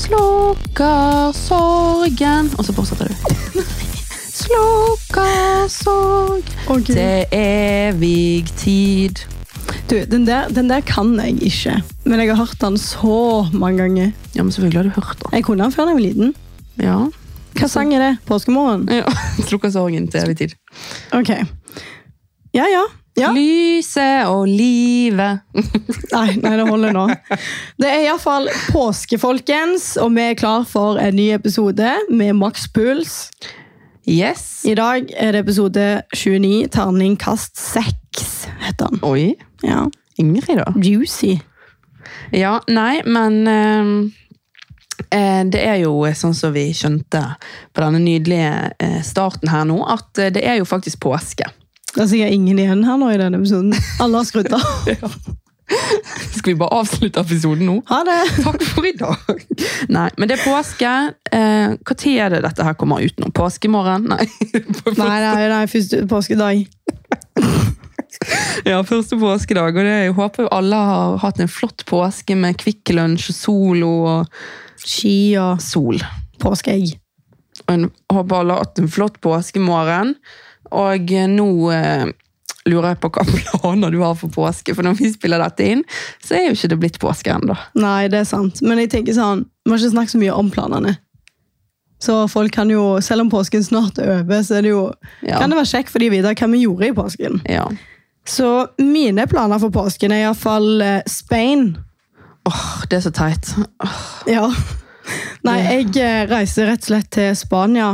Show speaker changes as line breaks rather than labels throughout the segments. Slukker sorgen Og så fortsetter du. Slukker sorg
Å, Gud.
til evig tid.
Du, den der, den der kan jeg ikke, men jeg har hørt den så mange ganger.
Ja, men selvfølgelig har du hørt den.
Jeg kunne den før da jeg var liten.
Ja.
Hva sang er det? Påskemorgen?
ja. Slukker sorgen til evig tid.
Ok. Ja, ja. ja.
Lyset og livet.
Nei, nei, det holder nå. Det er iallfall påske, folkens, og vi er klar for en ny episode med Max Puls.
Yes.
I dag er det episode 29, terningkast 6, heter den.
Oi.
Ja.
Ingrid, da?
Juicy.
Ja, nei, men ehm, eh, det er jo eh, sånn som vi skjønte på denne nydelige eh, starten her nå, at eh, det er jo faktisk påske.
Det er sikkert ingen igjen her nå i denne episoden. Alle har skrudd av.
Skal vi bare avslutte episoden nå?
Ha det!
Takk for i dag! Nei, men det er påske. Eh, hva tid er det dette her kommer ut nå? Påskemorgen? Nei. på
Nei,
første-
nei, nei, første påskedag.
Ja, første påskedag. Og det, jeg håper jo alle har hatt en flott påske med Kvikk Lunsj og Solo og
Ski og
sol.
påskeegg.
Og en, håper alle har hatt en flott påskemorgen. Og eh, nå eh, lurer jeg på hva planer du har for påske, for når vi spiller dette inn, så er jo ikke det blitt påske ennå.
Nei, det er sant. Men jeg tenker sånn, vi har ikke snakket så mye om planene. Så folk kan jo, selv om påsken snart er over, så er det jo,
Ja.
kan det være kjekt for de å vite hva vi gjorde i påsken.
Ja.
Så mine planer for påsken er i hvert fall eh, Spain.
Åh, det er så teit. Åh,
Ja. Nei, jeg eh, reiser rett og slett til Spania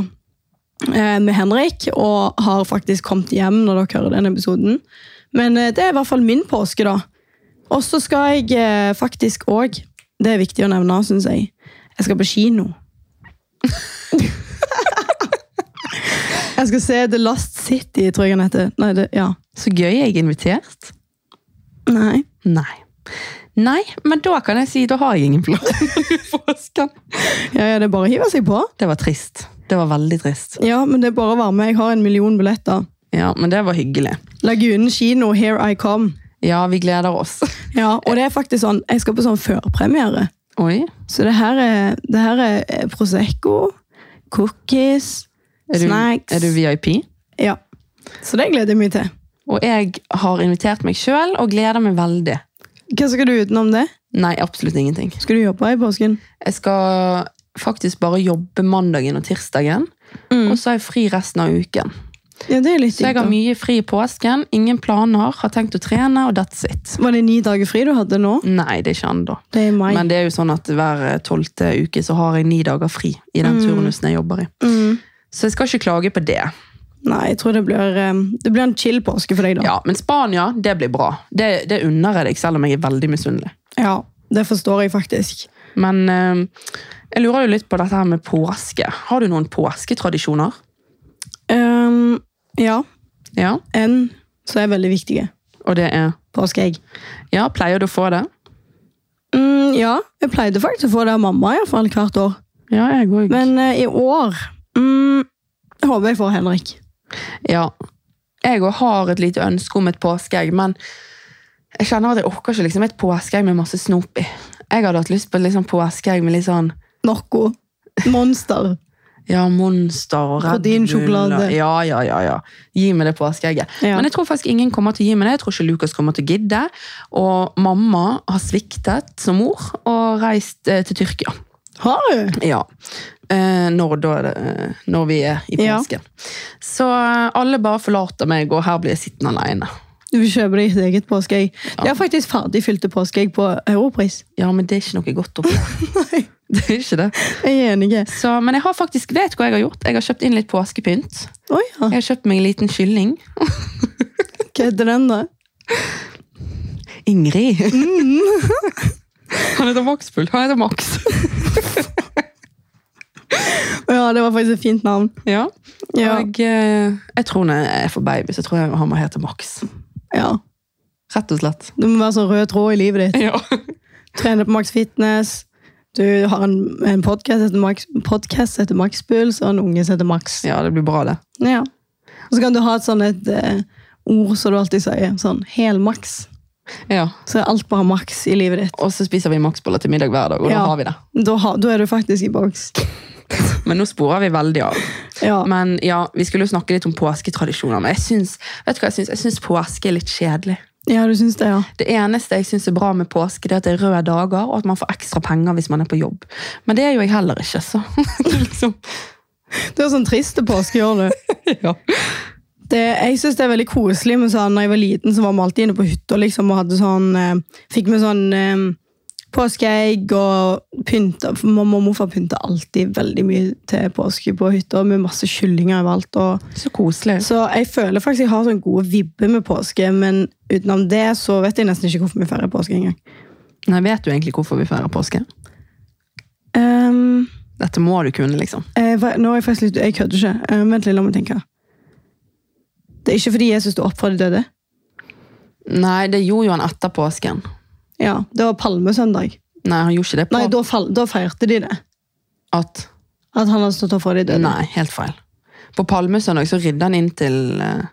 eh, med Henrik, og har faktisk kommet hjem når dere hører denne episoden. Men eh, det er i hvert fall min påske, da. Og så skal jeg eh, faktisk òg Det er viktig å nevne, syns jeg. Jeg skal på kino. jeg skal se The Lost City, tror jeg den heter. Nei, det, ja.
så gøy jeg er invitert.
Nei.
Nei. Nei, men da kan jeg si da har jeg ingen planer for påsken.
Ja, ja, det er bare å hive seg på.
Det var trist. Det var veldig trist.
Ja, men det er bare å være med. Jeg har en million billetter.
Ja, men det var hyggelig.
Lagunen kino, Here I Come.
Ja, vi gleder oss.
Ja, og det er faktisk sånn, jeg skal på sånn førpremiere.
Oi,
Så det her er, det her er eh, Prosecco, cookies,
er du,
snacks.
er du VIP?
Ja. Så det gleder jeg meg til.
Og jeg har invitert meg sjøl og gleder meg veldig.
Hva skal du utenom det?
Nei, absolutt ingenting.
Skal du jobbe i påsken?
Jeg skal faktisk bare jobbe mandagen og tirsdagen, og så har jeg fri resten av uken.
Ja, det er litt
Så jeg
Mm. digg
har
da.
mye fri i påsken, ingen planer, har tenkt å trene, og that's it.
Var det ni dager fri du hadde nå?
Nei, det er ikke ennå.
Det er i mai.
Men det er jo sånn at hver tolvte uke så har jeg ni dager fri i den turnusen jeg jobber i.
Mm.
Så jeg skal ikke klage på det.
Nei, jeg tror det blir, eh, det blir en chill påske for deg da.
Ja, Men Spania, det blir bra. Det, det unner jeg deg, selv om jeg er veldig misunnelig.
Ja, det forstår jeg faktisk.
Men eh, jeg lurer jo litt på dette her med påske. Har du noen påsketradisjoner?
Ehm, ja,
Ja.
en som er veldig viktige.
Og det er
Påskeegg.
Ja, pleier du å få det?
Mm, ja, jeg pleide faktisk å få det av mamma i hvert fall hvert år.
Ja, jeg òg.
Men eh, i år mm, jeg håper jeg får Henrik.
Ja. Jeg òg har et lite ønske om et påskeegg, men jeg kjenner at jeg orker ikke liksom et påskeegg med masse snop i. Jeg hadde hatt lyst på et liksom påskeegg med litt sånn
Nocco. Monster.
Ja, Monster og Red
Proteinsjokolade.
Bull og- Ja, ja, ja, ja. Gi meg det påskeegget.
Ja.
Men jeg tror faktisk ingen kommer til å gi meg det. Jeg tror ikke Lukas kommer til å gidde. Og mamma har sviktet som mor og reist eh, til Tyrkia.
Har du?
Ja. Eh, når, da, eh, når vi er i
Ja.
påsken. Så eh, alle bare forlater meg, og her blir jeg sittende alene.
Du vil kjøpe deg ditt eget påskeegg. De har faktisk ferdigfylte påskeegg på Europris.
Ja, men det er ikke noe godt oppi.
Nei.
det er ikke det.
Jeg er enig.
Så, men jeg har faktisk vet du hva jeg har gjort. Jeg har kjøpt inn litt påskepynt.
Å ja.
Jeg har kjøpt meg en liten kylling.
Hva heter den, da?
Ingrid. Han heter Maxpult. Han heter Max.
Å Ja, det var faktisk et fint navn.
Ja.
Ja.
Og eh, jeg tror når jeg får baby, så tror jeg han må hete Max.
ja.
Rett og slett.
Du må være sånn rød tråd i livet ditt.
Ja.
Trene på Max Fitness. Du har en, en podkast som heter Max- podcast som heter Max Puls, og en unge som heter Max.
ja, det blir bra, det.
Ja. Og så kan du ha et sånn et eh, ord som du alltid sier. Sånn helmaks.
Ja.
Så er alt bare maks i livet ditt.
Og så spiser vi maksboller til middag hver dag, og
Ja.
da har vi det.
Da, har, da er du faktisk i boks.
Men nå sporer vi veldig av.
Ja.
Men ja, vi skulle jo snakke litt om påsketradisjoner, men jeg syns, vet du hva jeg syns? Jeg syns påske er litt kjedelig.
ja, du syns det, ja.
Det eneste jeg syns er bra med påske, det er at det er røde dager, og at man får ekstra penger hvis man er på jobb. Men det er jo jeg heller ikke, så det er liksom,
Du har sånn triste påske, gjør du.
ja.
Det, jeg syns det er veldig koselig. Men sånn, når jeg var liten, så var vi alltid inne på hytta liksom, og hadde sånn, eh, fikk vi sånn eh, påskeegg og pynta. for Mamma og morfar pynta alltid veldig mye til påske på hytta, med masse kyllinger overalt. Og,
Så koselig.
så jeg føler faktisk jeg har sånn gode vibber med påske, men utenom det så vet jeg nesten ikke hvorfor vi feirer påske engang.
Nei, Vet du egentlig hvorfor vi feirer påske?
Um,
Dette må du kunne, liksom.
Eh, hva- nå er jeg faktisk litt Jeg kødder ikke. Eh, vent litt, la meg tenke. Det er ikke fordi Jesus sto opp fra de døde.
Nei, det gjorde jo han etter påsken.
Ja, Det var palmesøndag.
Nei, han gjorde ikke det på
Nei, da, fall, da feirte de det.
at
At han hadde stått opp fra de døde.
Nei, helt feil. På palmesøndag så ridde han inn til eh,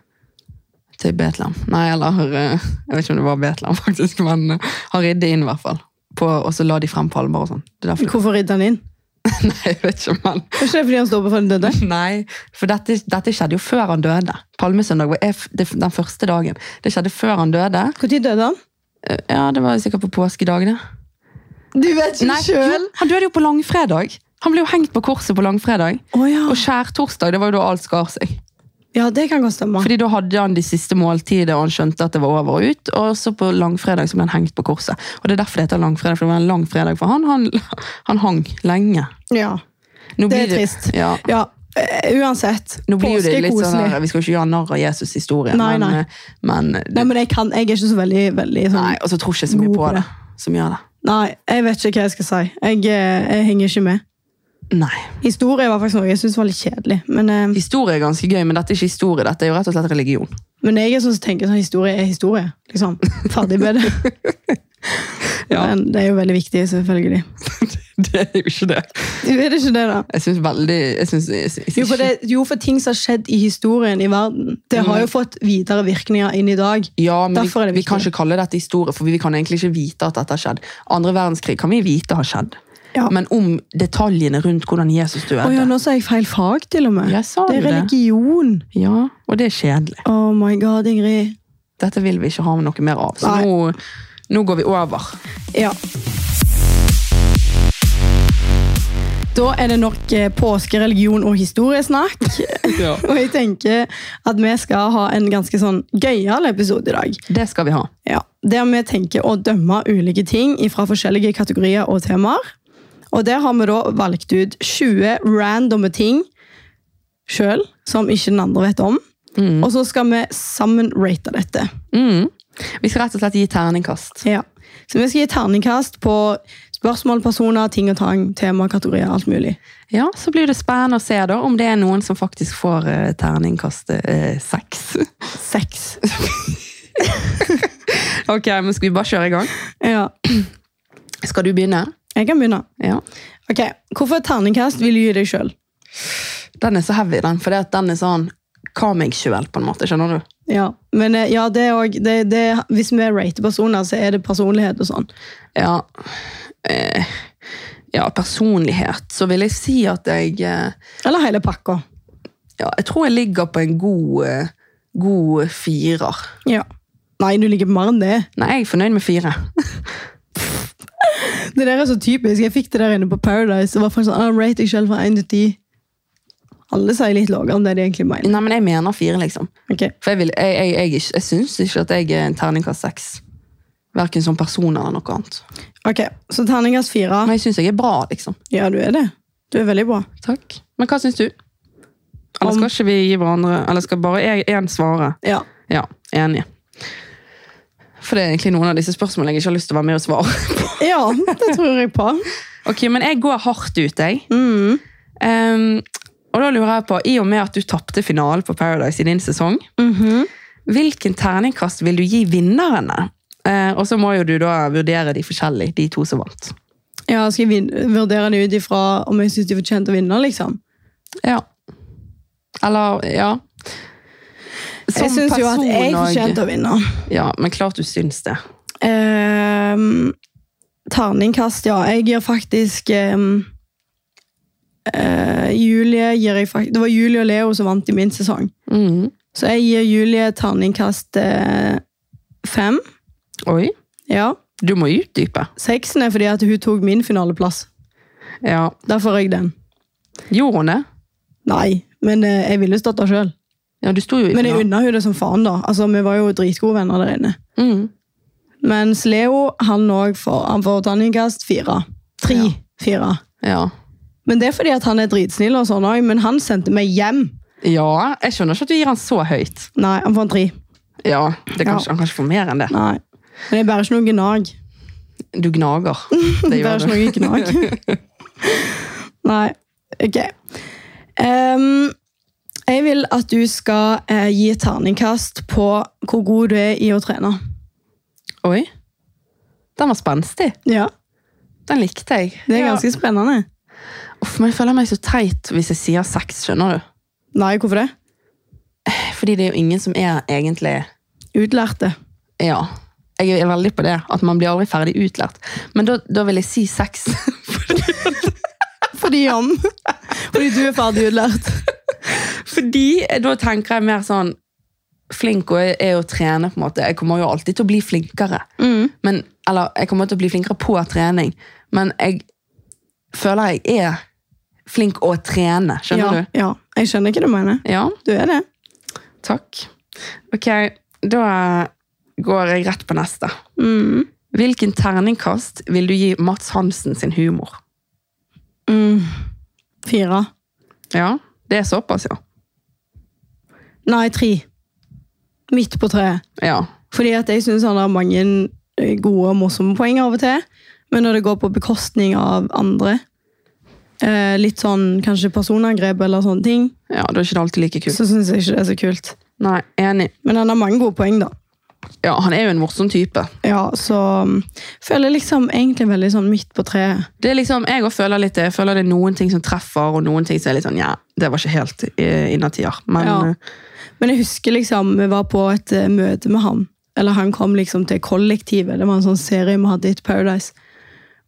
til Betlehem. Nei, eller eh, Jeg vet ikke om det var Betlehem, faktisk, men eh, han ridde inn, i hvert fall. På, og så la de frem palmer og sånn. Det er derfor
Hvorfor ridde han inn?
Nei, jeg vet ikke, men
Er ikke det fordi han sto opp fra de døde?
Nei, for dette, dette skjedde jo før han døde. Palmesøndag var er f- det- den første dagen. Det skjedde før han døde.
Når døde han?
Eh, Ja, det var sikkert på påskedag, det.
Du vet
Nei,
ikke
jo,
sjøl!
han døde jo på langfredag. Han ble jo hengt på korset på langfredag.
Å ja.
Og skjærtorsdag, det var jo da alt skar seg.
ja, det kan godt stemme.
Fordi da hadde han de siste måltider, og han skjønte at det var over og ut. Og så på langfredag så ble han hengt på korset. Og det er derfor det heter langfredag, for det var en lang fredag for han. Han, han hang lenge.
Ja,
Nå
Det er
blir
trist.
Ja,
ja eh, Uansett.
Nå blir jo
påske
det
er
litt sånn
koselig.
her, Vi skal jo ikke gjøre narr av Jesus' historie,
Nei,
men,
nei.
men,
Nei, men jeg, kan, jeg er ikke så veldig, veldig sånn
nei, Og så tror ikke jeg så mye
God
på
på
det. Som gjør det.
Nei, jeg vet ikke hva jeg skal si. Jeg, eh, jeg henger ikke med.
Nei.
Historie var faktisk noe jeg syntes var litt kjedelig. Men, eh,
Historie er ganske gøy, men dette er ikke historie. Dette er jo rett og slett religion.
men jeg er sånn som tenker sånn, historie er historie. Liksom. Ferdig med det.
Ja.
Men det er jo veldig viktig, selvfølgelig.
Det er jo ikke det.
Du er det ikke det, da?
Jeg syns veldig jeg synes, jeg synes,
Jo for, det, jo, for ting som har skjedd i historien i verden, det har jo fått videre virkninger inn i dag.
Ja, men
Derfor er
vi,
det
vi kan
viktig.
ikke kalle dette historie, for vi kan egentlig ikke vite at dette har skjedd. Andre verdenskrig kan vi vite har skjedd,
Ja.
men om detaljene rundt hvordan Jesus døde
Å ja, nå sa jeg feil fag, til og med.
Jeg sa
det
jo
er
det.
religion.
ja, og det er kjedelig.
Oh my god, Ingrid.
Dette vil vi ikke ha noe mer av. Så
Nei.
nå, nå går vi over.
Ja. Da er det nok eh, påske, religion og historiesnakk.
Ja.
og jeg tenker at vi skal ha en ganske sånn gøyal episode i dag.
Det skal vi ha.
Ja, Der vi tenker å dømme ulike ting fra forskjellige kategorier og temaer. Og der har vi da valgt ut 20 randomme ting sjøl som ikke den andre vet om. Og så skal vi sammen rate dette.
Mm. Vi skal rett og slett gi terningkast.
Ja. Så vi skal gi terningkast på spørsmål, personer, ting og tang, tema, kategorier, alt mulig.
Ja, Så blir det spennende å se da om det er noen som faktisk får eh, terningkast eh, seks.
Seks.
ok, men Skal vi bare kjøre i gang?
Ja,
Skal du begynne?
jeg kan begynne.
Ja.
Ok, Hvorfor et terningkast vil du gi deg sjøl?
Den er så heavy, den. For den er sånn hva meg sjøl, på en måte. Skjønner du?
Ja, men eh, ja, det er også, det, det, Hvis vi rater personer, så er det personlighet og sånn.
Ja. Eh, ja, personlighet. Så vil jeg si at jeg eh,
Eller hele pakka.
Ja, jeg tror jeg ligger på en god, eh, god firer.
Ja. Nei, du ligger på mer enn det.
Nei, jeg er fornøyd med fire.
Det der er så typisk. Jeg fikk det der inne på Paradise. Det var faktisk sånn, ah, rate deg selv fra 1 til 10. Alle sier litt lavere enn det de egentlig mener.
Nei, men jeg mener fire, liksom.
Ok,
For jeg, vil, jeg, jeg, jeg, ikke- jeg syns ikke at jeg er en terningkast seks. Verken som person eller noe annet.
Ok, Så terningkast fire.
Men jeg syns jeg er bra, liksom.
Ja, du er det. Du er veldig bra.
Takk. Men hva syns du? Eller
Om-
skal ikke vi gi hverandre Eller skal bare jeg- én svare?
Ja.
Ja, enig. For det er egentlig noen av disse spørsmålene jeg ikke har lyst til å være med og svare på.
Ja, det tror jeg på.
Ok, Men jeg går hardt ut, jeg.
Mm.
Ehm, og da lurer jeg på, i og med at du tapte finalen på Paradise i din sesong,
mhm.
hvilken terningkast vil du gi vinnerne? Eh, og så må jo du da vurdere de forskjellige, de to som vant.
Ja, Skal jeg vin- vurdere det ut ifra om jeg syns de fortjente å vinne? liksom?
Ja. Eller, ja. Som
jeg syns jo at
person
jeg
og-
fortjente å vinne.
Ja, men klart du syns det.
Ehm, terningkast, ja. Jeg gir faktisk ehm, eh, Julie gir jeg fakt Det var Julie og Leo som vant i min sesong.
Mm.
Så jeg gir Julie terningkast eh, fem.
Oi.
Ja.
Du må utdype.
Seksen er fordi at hun tok min finaleplass.
Ja.
Derfor er jeg den.
Gjorde hun det?
Nei, men eh, jeg ville stått der sjøl.
Ja, du sto jo i
Men jeg
finalen.
unna hun det som faen, da. Altså, Vi var jo dritgode venner der inne.
Mm.
Mens Leo, han òg får, han får terningkast fire. Tre.
Ja.
Fire.
Ja.
Men det er fordi at han er dritsnill og sånn også, men han sendte meg hjem.
ja, jeg skjønner ikke at du gir han så høyt.
Nei, han får en tre.
Ja, det kan
Ja.
ikke- Han kan ikke få mer enn det.
Nei. Men jeg bærer ikke noe gnag.
Du gnager.
Det er
du.
ikke noe gnag. Nei, ok. Ehm, jeg vil at du skal eh, gi et terningkast på hvor god du er i å trene.
Oi. Den var spenstig.
Ja,
Den likte jeg.
Det er
Ja.
ganske spennende.
Uff, men jeg føler meg så teit hvis jeg sier seks, skjønner du?
Nei, hvorfor det?
Fordi det er jo ingen som er egentlig
Utlærte.
Ja. Jeg er veldig på det, at man blir aldri ferdig utlært. Men da, da vil jeg si seks.
Fordi om. Fordi du er ferdig utlært.
Fordi eh, da tenker jeg mer sånn Flink og jeg er å trene, på en måte. Jeg kommer jo alltid til å bli flinkere.
Mm.
Men, eller jeg kommer til å bli flinkere på trening, men jeg føler jeg er flink å trene. Skjønner
ja, Ja, jeg skjønner ikke hva du mener.
du? Ja.
Du er det.
Takk. Ok, da går jeg rett på neste.
Mm.
Hvilken terningkast vil du gi Mats Hansen sin humor?
Mm. Fire.
Ja, det er såpass, ja.
Nei, tre. Midt på treet.
Ja,
Fordi at jeg syns han har mange eh, gode og morsomme poeng av og til. Men når det går på bekostning av andre, eh, litt sånn kanskje personangrep eller sånne ting,
ja da er ikke det alltid like kult.
så syns jeg ikke det er så kult.
Nei, enig.
Men han har mange gode poeng, da.
Ja, han er jo en morsom type.
Ja, så mm, føler jeg liksom egentlig veldig sånn midt på treet.
Det er liksom, jeg også føler litt det. Jeg føler det er noen ting som treffer, og noen ting som er litt sånn, ja, det var ikke helt eh, innertier. Men
Ja.
eh,
Men jeg husker liksom, vi var på et eh, møte med han. Eller han kom liksom til kollektivet. Det var en sånn serie vi hadde i Paradise.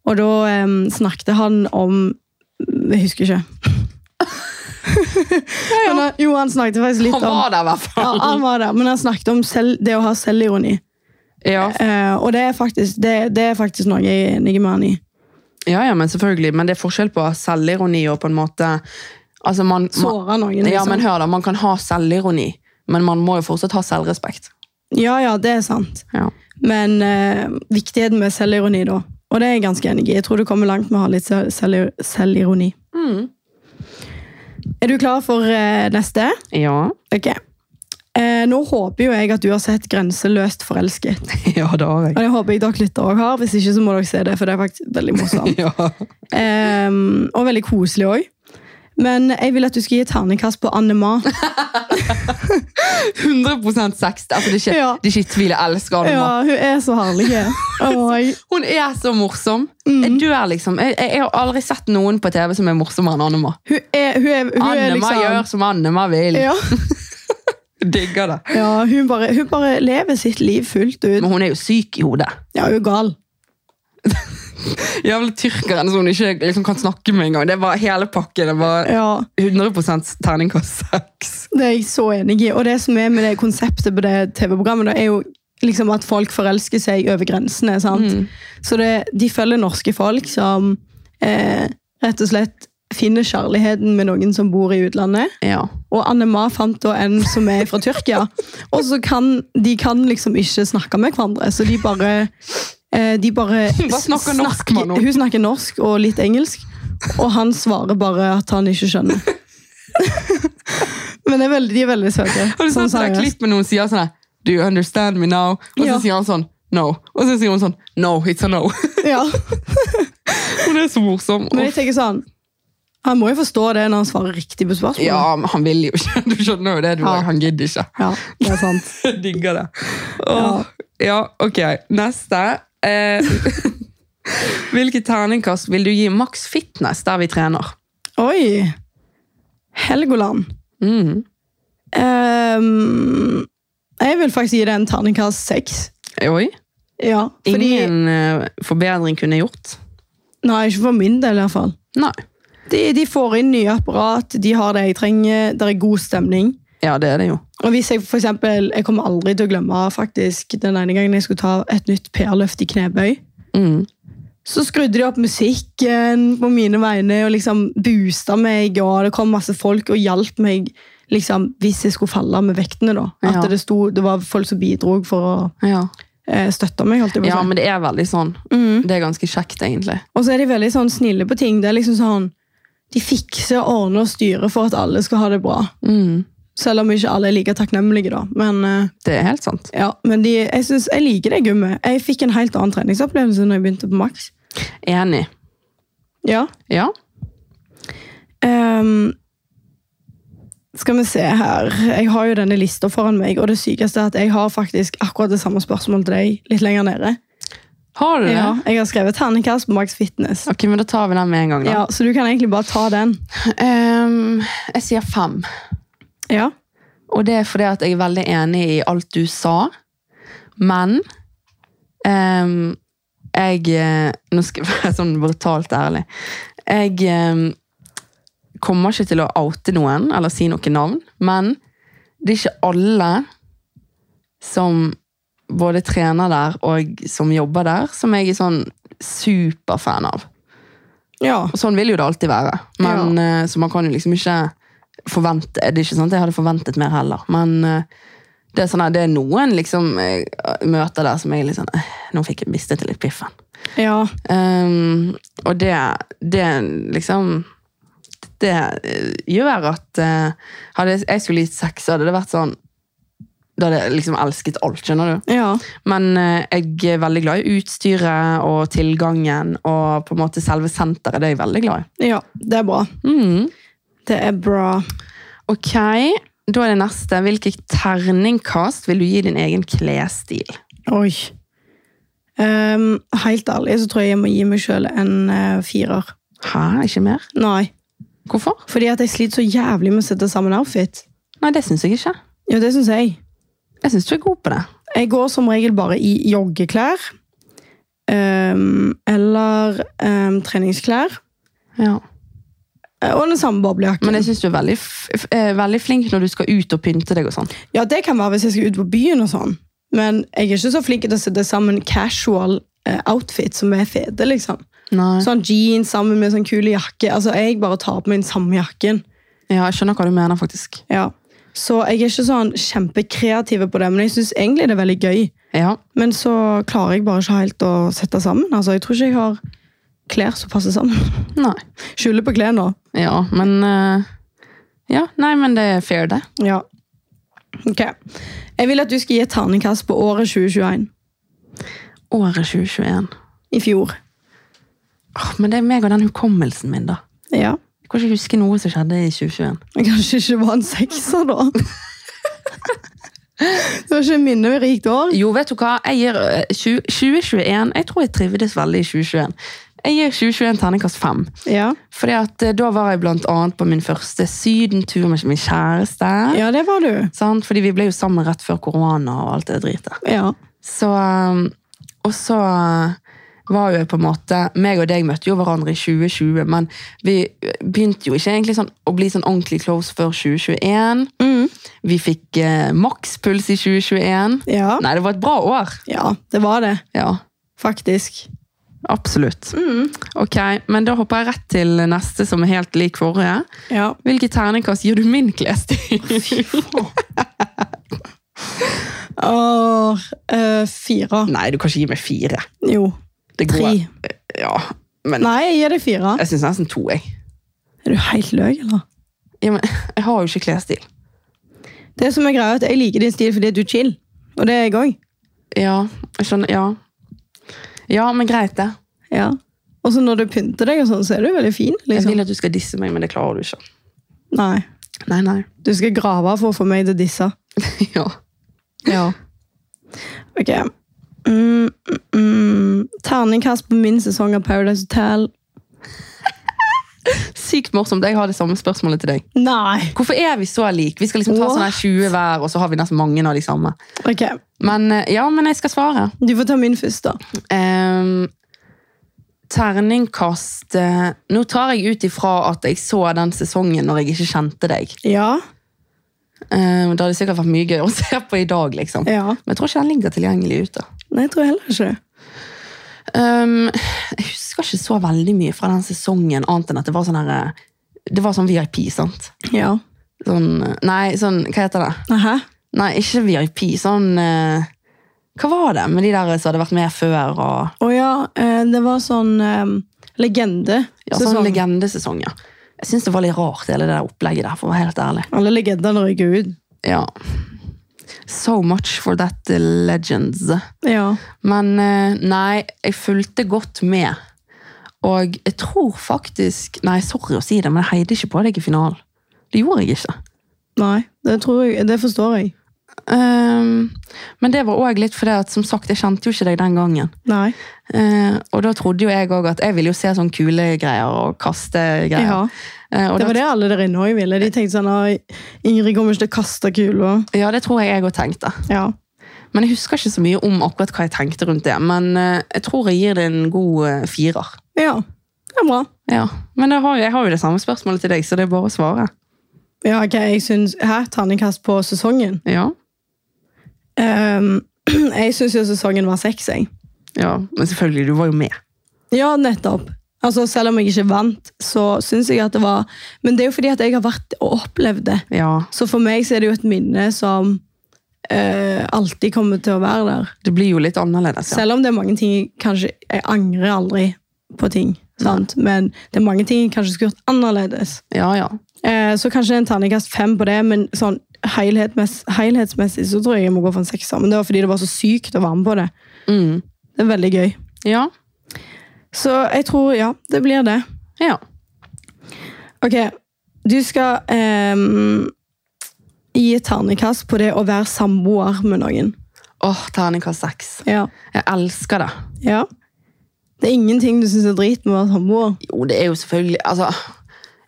Og da em, snakket han om Jeg husker ikke. Men, eh, jo, han snakket faktisk litt
han var der i hvert
om ja,
fall.
han var der, men han snakket om selv, det å ha selvironi.
Ja,
Eh, og det er, faktisk, det, det er faktisk noe jeg er enig med han i.
ja, ja, men selvfølgelig. Men det er forskjell på selvironi og på en måte... Altså, man, man,
Såre noen,
Ja, men
liksom.
hør da, man kan ha selvironi, men man må jo fortsatt ha selvrespekt.
Ja, ja, det er sant.
Ja.
Men eh, viktigheten med selvironi, da. Og det er jeg ganske enig i. Jeg tror du kommer langt med å ha litt sel- sel- selvironi.
Mm.
Er du klar for eh, neste?
Ja.
Ok. Eh, nå håper jo jeg at du har sett Grenseløst forelsket.
ja, det har
Og det håper jeg dere lyttere også har. Hvis ikke så må dere se det, for det er faktisk veldig morsomt.
Ja.
Eh, og veldig koselig òg. Men jeg vil at du skal gi et terningkast på Annema.
100 sex. Altså, det, er ikke,
Ja.
det er ikke i tvil. Jeg elsker Anna.
Ja, hun er så herlig. Altså, Oi.
Hun er så morsom. Jeg dør, liksom. Jeg, jeg, jeg har aldri sett noen på TV som er morsommere enn Annema.
Hun er, hun er, hun er
Annema
liksom
gjør som Annema vil.
Ja.
Digger det.
Ja, hun bare, hun bare lever sitt liv fullt ut.
Men hun er jo syk i hodet.
Ja, hun er gal.
Jævla tyrkeren som hun ikke liksom, kan snakke med engang. Det var hele pakken. Det var
Ja,
100 terningkast seks.
Det er jeg så enig i. Og det som er med det konseptet på det TV-programmet, da, er jo liksom at folk forelsker seg over grensene. sant? Så det, de følger norske folk som eh, rett og slett finner kjærligheten med noen som bor i utlandet.
Ja.
Og Annema fant da en som er fra Tyrkia. Og så kan de kan liksom ikke snakke med hverandre, så de bare eh, de bare
Hun bare snakker norsk med noen.
Hun snakker norsk og litt engelsk, og han svarer bare at han ikke skjønner. Men det er veldig, de er veldig søte.
Har du
sånn
sett det der
seriøst.
klippet når hun sier sånn her, Do you understand me now? Og så
Ja.
sier han sånn No. Og så sier hun sånn No, it's a no.
Ja.
Hun er så morsom.
Men jeg tenker sånn Han må jo forstå det når han svarer riktig på spørsmålet.
Ja, men han vil jo ikke. Du skjønner jo det. Du,
Ja.
Han gidder ikke.
Ja, det er sant.
Jeg digger det. Åh, ja, ok. Neste. Eh, hvilket terningkast vil du gi Max Fitness der vi trener?
Oi! Helgoland.
Mm.
Ehm, jeg vil faktisk gi det en terningkast seks.
Oi.
Ja, fordi,
Ingen eh, forbedring kunne jeg gjort.
Nei, ikke for min del i hvert fall.
Nei.
De, de får inn nye apparat, de har det jeg trenger, det er god stemning.
Ja, det er det jo.
Og hvis Jeg for eksempel, jeg kommer aldri til å glemme faktisk den ene gangen jeg skulle ta et nytt PR-løft i knebøy.
Mm.
Så skrudde de opp musikken på mine vegne og liksom boosta meg. og Det kom masse folk og hjalp meg liksom, hvis jeg skulle falle med vektene. da. At
Ja.
det, sto, det var folk som bidro for å
Ja.
eh, støtte meg. holdt jeg på å
ja,
si.
men det er veldig sånn.
Mhm.
Det er ganske kjekt, egentlig.
Og så er de veldig sånn snille på ting. Det er liksom sånn, De fikser, ordner og styrer for at alle skal ha det bra.
Mm.
Selv om ikke alle er like takknemlige, da. Men, eh,
Det er helt sant.
ja, men de, jeg, synes, jeg liker det gymmet. Jeg fikk en helt annen treningsopplevelse når jeg begynte på Max.
Enig.
Ja.
Ja.
Ehm, skal vi se her. Jeg har jo denne lista foran meg, og det sykeste er at jeg har faktisk akkurat det samme spørsmålet til deg litt lenger nede.
Har du det?
Ja, jeg har skrevet terningkast på Max Fitness.
Ok, men da tar vi den med en gang, da.
Ja, så du kan egentlig bare ta den.
Ehm, jeg sier fem.
Ja.
Og det er fordi at jeg er veldig enig i alt du sa. Men ehm, jeg eh, Nå skal jeg være sånn brutalt ærlig. Jeg ehm, kommer ikke til å oute noen eller si noe navn, men det er ikke alle som både trener der og som jobber der, som jeg er sånn superfan av.
Ja.
Og sånn vil jo det alltid være. Men, eh, Så man kan jo liksom ikke forvente Det er ikke sånn at jeg hadde forventet mer heller. Men eh, det er, sånn her, det er noen liksom, eh, møter der som jeg er litt sånn eh, Nå fikk jeg mistet litt piffen.
ja.
Um, og det, det liksom Det eh, gjør at eh, Hadde jeg- jeg skulle gitt seks, så hadde det vært sånn Da hadde jeg liksom elsket alt, skjønner du.
Ja.
Men eh, jeg er veldig glad i utstyret og tilgangen og på en måte selve senteret. Det er jeg veldig glad i.
Ja, det er bra.
Mm.
Det er bra.
Ok, da er det neste. Hvilket terningkast vil du gi din egen klesstil?
Oi. Ehm, helt ærlig så tror jeg jeg må gi meg sjøl en eh, firer.
Hæ, ikke mer?
Nei.
Hvorfor?
Fordi at jeg sliter så jævlig med å sette sammen outfit.
Nei, det syns jeg ikke.
Ja, det syns jeg.
Jeg syns du er god på det.
Jeg går som regel bare i joggeklær. ehm, eller ehm, treningsklær.
Ja.
Eh, Og den samme boblejakken.
Men jeg syns du er veldig, f f- eh, veldig flink når du skal ut og pynte deg og sånn.
Ja, det kan være hvis jeg skal ut på byen og sånn. Men jeg er ikke så flink til å sette sammen casual eh, outfit som er fete, liksom.
Nei.
Sånn jeans sammen med sånn kule jakke. Altså, jeg bare tar på meg den samme jakken.
Ja, jeg skjønner hva du mener, faktisk.
Ja. Så jeg er ikke sånn kjempekreativ på det, men jeg syns egentlig det er veldig gøy.
Ja.
Men så klarer jeg bare ikke helt å sette sammen. Altså, jeg tror ikke jeg har klær som passer sammen.
Nei.
Skylder på klær nå.
Ja, men eh, Ja, nei, men det er fair, det.
Ja. Ok. Jeg vil at du skal gi et terningkast på året 2021.
Året 2021.
I fjor.
Åh, men det er meg og den hukommelsen min, da.
Ja.
Jeg kan ikke huske noe som skjedde i 2021.
Jeg kanskje ikke var en sekser, da. det var ikke et minnerikt år.
Jo, vet du hva? Jeg gir eh, 20 2021 Jeg tror jeg trivdes veldig i 2021. Jeg gir 2021 terningkast fem.
Ja.
Fordi at eh, da var jeg blant annet på min første sydentur med min kjæreste.
ja, det var du.
Sant? Fordi vi ble jo sammen rett før korona og alt det dritet.
Ja.
Så eh, Og så eh, var jo jeg på en måte Meg og deg møtte jo hverandre i 2020, men vi begynte jo ikke egentlig sånn å bli sånn ordentlig close før 2021. Vi fikk eh, makspuls i 2021.
Ja.
Nei, det var et bra år.
ja, det var det.
Ja.
Faktisk.
Absolutt. Mm. Ok, men da hopper jeg rett til neste som er helt lik forrige.
Ja.
Hvilket terningkast gir du min klesstil?
Og eh, fire.
Nei, du kan ikke gi meg fire.
Jo.
Det går-
Tre.
Ja, men
Nei, jeg gir deg fire.
jeg syns nesten to, jeg.
Er du helt løk, eller?
Ja, men, jeg har jo ikke klesstil.
Det som er greia er at Jeg liker din stil fordi du er chill. Og det er jeg òg.
Ja, jeg skjønner. Ja. Ja, men greit, det.
Ja. Og så når du pynter deg, og sånn, så er du veldig fin.
Jeg
Liksom.
vil at du skal disse meg, men det klarer du ikke.
Nei.
Nei, nei.
Du skal grave for å få meg til å disse.
Ja.
Ja. Ok. Mm, mm, mm. Terningkast på min sesong av Paradise Hotel.
Sykt morsomt. Jeg har det samme spørsmålet til deg.
Nei.
Hvorfor er vi så like? Vi skal liksom ta
Åh.
sånn her 20 hver, og så har vi nesten mange av de samme.
Ok,
Men eh, ja, men jeg skal svare.
Du får ta min først, da.
Ehm, terningkast eh, Nå tar jeg ut ifra at jeg så den sesongen når jeg ikke kjente deg.
Ja.
Ehm, det hadde sikkert vært mye gøy å se på i dag, liksom.
ja.
Men jeg tror ikke den ligger tilgjengelig ute.
Nei, jeg tror heller ikke det.
Ehm, jeg husker ikke så veldig mye fra den sesongen, annet enn at det var sånn her eh, Det var sånn VIP, sant?
Ja.
Sånn eh, Nei, sånn Hva heter det?
Hæ?
Nei, ikke VIP. Sånn eh, Hva var det med de der som hadde vært med før? og
Å ja, eh, det var sånn eh, legende.
ja, Sånn
sesong.
legendesesong, ja. Jeg syns det var litt rart, hele det der opplegget der. for å være helt ærlig.
Alle legendene røyker ut.
Ja. So much for that eh, legends.
Ja.
Men eh, nei, jeg fulgte godt med. Og jeg tror faktisk Nei, sorry å si det, men jeg heide ikke på deg i finalen. Det gjorde jeg ikke.
Nei, det tror jeg, det forstår jeg.
Ehm, men det var òg litt fordi at som sagt, jeg kjente jo ikke deg den gangen.
Nei.
Eh, og da trodde jo jeg òg at jeg ville jo se sånne kule greier og kaste
Ja.
greier. Eh, og
Det var det alle der inne òg ville. De tenkte sånn «Oi, Ingrid kommer ikke til å kaste kula.
Da, ja, det tror jeg jeg òg tenkte.
Ja.
Men jeg husker ikke så mye om akkurat hva jeg tenkte rundt det. Men eh, jeg tror jeg gir det en god eh, firer.
ja. Det er bra.
Ja. Men jeg har, jo- jeg har jo det samme spørsmålet til deg, så det er bare å svare.
Ja, ok, jeg syns Hæ? Terningkast på sesongen?
Ja.
Ehm, jeg syns jo sesongen var seks, jeg.
ja. Men selvfølgelig, du var jo med.
Ja, nettopp. Altså, Selv om jeg ikke vant, så syns jeg at det var Men det er jo fordi at jeg har vært og opplevd det.
Ja.
Så for meg så er det jo et minne som eh, alltid kommer til å være der.
Det blir jo litt annerledes. Ja.
Selv om det er mange ting jeg kanskje Jeg angrer aldri på ting, sant? men det er mange ting jeg kanskje skulle gjort annerledes.
ja, ja.
Eh, så kanskje en terningkast fem på det, men sånn helhetsmess helhetsmessig så tror jeg jeg må gå for en sekser. Men det var fordi det var så sykt å være med på det.
Mm.
Det er veldig gøy.
Ja.
Så jeg tror, ja, det blir det.
Ja.
Ok, du skal ehm, gi et terningkast på det å være samboer med noen.
Åh, terningkast seks.
Ja.
Jeg elsker det.
ja. Det er ingenting du syns er drit med å være samboer.
Jo, det er jo selvfølgelig altså,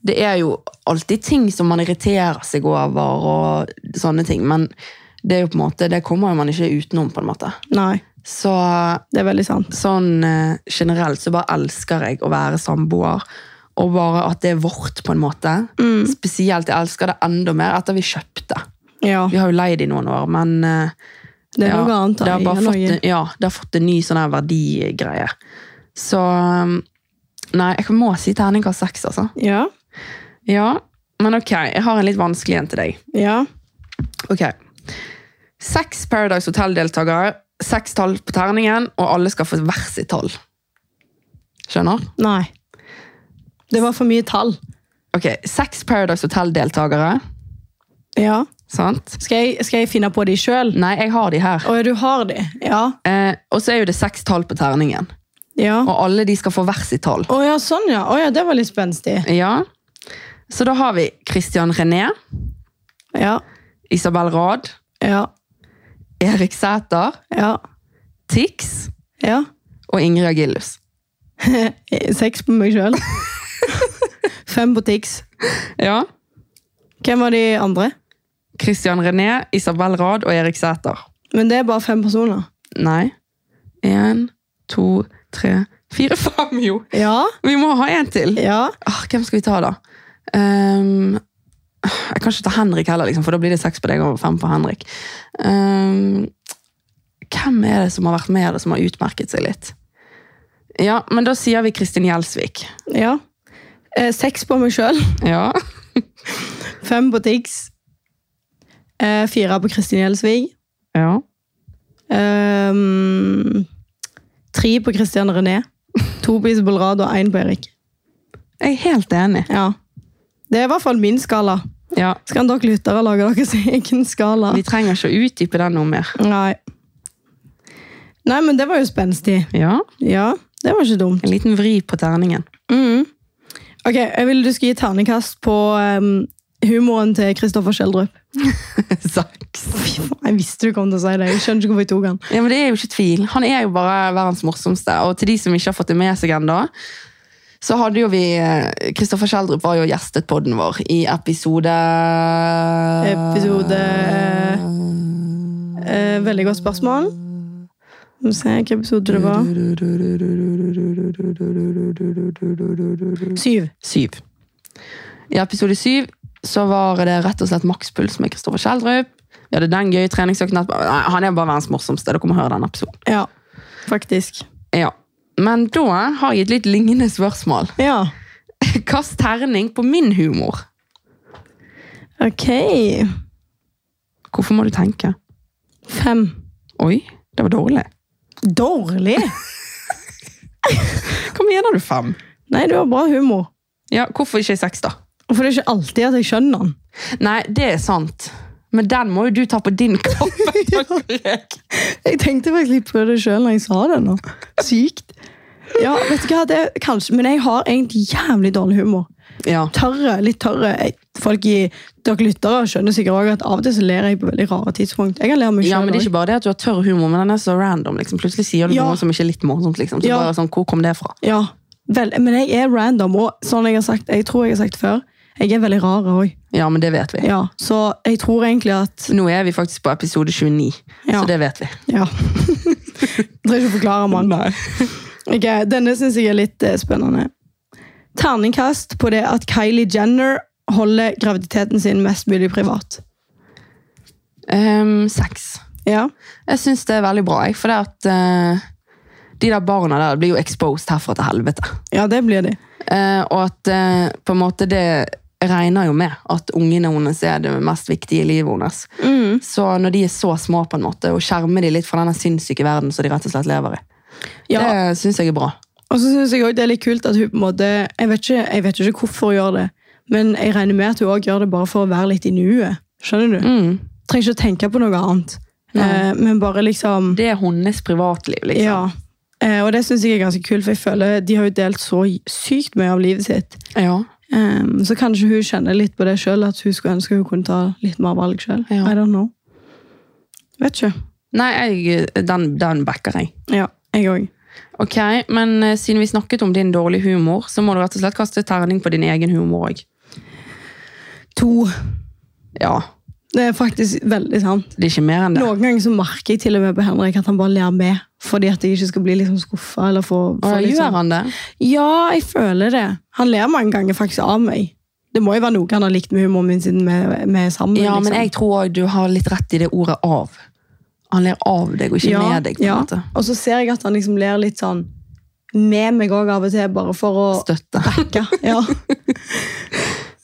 Det er jo alltid ting som man irriterer seg over, og sånne ting, men det er jo på en måte, det kommer jo man ikke utenom. på en måte.
Nei,
Så
det er veldig sant.
sånn eh, generelt så bare elsker jeg å være samboer. Og bare at det er vårt, på en måte.
Mm.
Spesielt jeg elsker det enda mer etter vi kjøpte.
Ja,
Vi har jo leid i noen år, men eh,
det er
ja,
noe annet.
det har
enn
bare fått,
noen.
en- ja, det har fått en ny sånn her verdigreie. Så um, Nei, jeg må si terningkast seks, altså.
Ja,
Ja, men ok, jeg har en litt vanskelig en til deg.
ja.
Ok. Seks Paradise Hotel-deltakere, seks tall på terningen, og alle skal få hver sitt tall. Skjønner?
Nei. Det var for mye tall.
Ok, seks Paradise Hotel-deltakere,
Ja.
sant?
Skal jeg, skal jeg finne på de sjøl?
Nei, jeg har de her.
Å, ja, du har de? Ja.
Eh, og så er jo det seks tall på terningen,
Ja.
og alle de skal få hver sitt tall.
Å ja, sånn ja. Å ja, det var litt spenstig.
Ja, så da har vi Christian René,
Ja.
Isabel Rad,
Ja.
Erik Sæter,
Ja.
Tix
Ja.
og Ingrid Agillus.
Seks på meg sjøl. Fem på Tix.
Ja,
Hvem var de andre?
Christian René, Isabel Rad og Erik Sæter.
Men det er bare fem personer.
Nei. Én, to, tre, fire, fem, jo!
Ja.
Vi må ha en til!
Ja.
Ah, hvem skal vi ta, da? Ehm, jeg kan ikke ta Henrik heller, liksom, for da blir det seks på deg og fem på Henrik. Ehm, hvem er det som har vært med, og som har utmerket seg litt? Ja, men da sier vi Kristin Gjelsvik.
ja. Eh, Seks på meg sjøl.
Ja.
Fem på Tix. Eh, Fire på Kristin Gjelsvig.
ja.
Ehm, Tre på Christian René. To på Isabel Rad og én på Erik.
Jeg er helt enig.
Ja. Det er i hvert fall min skala.
Ja.
Så kan dere lyttere lage deres egen skala.
Vi trenger ikke å utdype den noe mer.
Nei. Nei, men det var jo spenstig.
Ja.
Ja, det var ikke dumt.
En liten vri på terningen.
Mhm. Ok, jeg ville du skulle gi ternekast på ehm, humoren til Kristoffer Kjeldrup.
Saks.
Fy faen, jeg visste du kom til å si det. Jeg skjønner ikke hvorfor jeg tok han.
Ja, men Det er jo ikke tvil. Han er jo bare verdens morsomste. Og til de som ikke har fått det med seg ennå, så hadde jo vi Kristoffer Schjelderup var jo gjestet podden vår i episode
Episode eh, Veldig godt spørsmål. Skal vi se hvilken episode det var. Syv.
Syv. I episode syv så var det rett og slett makspuls med Kristoffer Schjelderup. Vi hadde den gøye treningsøkten. etterpå. Nei, Han er bare verdens morsomste. Dere må høre den episoden.
Ja, faktisk.
Ja. Men da har jeg et litt lignende spørsmål.
Ja.
Kast terning på min humor.
Ok.
Hvorfor må du tenke?
Fem.
Oi, det var dårlig.
Dårlig?
Hva mener du fem?
Nei, du har bra humor.
Ja, Hvorfor ikke seks, da?
For det er ikke alltid at jeg skjønner den.
Nei, det er sant. Men den må jo du ta på din kappe. Takk.
Jeg tenkte faktisk litt på det sjøl når jeg sa det nå. Sykt. Ja, vet du hva, det er kanskje, Men jeg har egentlig jævlig dårlig humor.
ja.
Tørre, litt tørre. Jeg, folk i, Dere lyttere skjønner sikkert også at av og til så ler jeg på veldig rare tidspunkt. Jeg kan le av meg
ja, men
selv
det er ikke bare det at du har tørr humor, men den er så random. liksom. Plutselig sier du
Ja.
noe som ikke er litt morsomt. liksom. Så
Ja.
bare sånn, hvor kom det fra?
også. Ja, vel, men jeg er random, og sånn jeg har sagt, jeg tror jeg har sagt før, jeg er veldig rar òg.
Ja, men det vet vi.
Ja, så jeg tror egentlig at
Nå er vi faktisk på episode 29,
Ja.
så det vet vi.
Ja. Jeg trenger ikke å forklare, mann. Ok, Denne syns jeg er litt eh, spennende. Terningkast på det at Kylie Jenner holder graviditeten sin mest mulig privat.
Ehm, seks.
Ja,
Jeg syns det er veldig bra, jeg, for det at eh, de der barna der blir jo exposed herfra til helvete.
ja det blir de.
Eh, og at eh, på en måte det regner jo med at ungene hennes er det mest viktige i livet hennes. Så når de er så små, på en måte, og skjermer de litt fra denne sinnssyke verden som de rett og slett lever i,
Ja,
det syns jeg er bra.
og så synes jeg også det er litt kult at hun på en måte Jeg vet ikke, jeg vet ikke hvorfor hun gjør det, men jeg regner med at hun også gjør det bare for å være litt i nuet. Skjønner du?
Mm.
Trenger ikke å tenke på noe annet. Eh,
Nei.
men bare liksom
Det er hennes privatliv, liksom.
Ja. Eh, og det syns jeg er ganske kult, for jeg føler de har jo delt så sykt mye av livet sitt.
Ja. ja.
Ehm, så kanskje hun kjenner litt på det sjøl, at hun skulle ønske hun kunne ta litt mer valg sjøl.
Ja.
I don't know. Vet ikke.
Nei, jeg, den, den backer jeg.
Ja, jeg òg.
Ok, Men eh, siden vi snakket om din dårlige humor, så må du rett og slett kaste terning på din egen humor òg.
To.
Ja,
Det er faktisk veldig sant.
det er ikke mer enn det.
Noen ganger så merker jeg til og med på Henrik at han bare ler med, fordi at jeg ikke skal bli liksom skuffa. Eller få,
Å,
få
Gjør
liksom.
han det?
Ja, jeg føler det. Han ler mange ganger faktisk av meg. Det må jo være noe han har likt med humoren min siden vi vi er sammen.
Ja, men
liksom.
jeg tror også du har litt rett i det ordet av. Han ler av deg, og ikke
Ja,
med deg. på en
ja.
måte.
Og så ser jeg at han liksom ler litt sånn med meg òg av og til, bare for å
Støtte.
backe. Ja.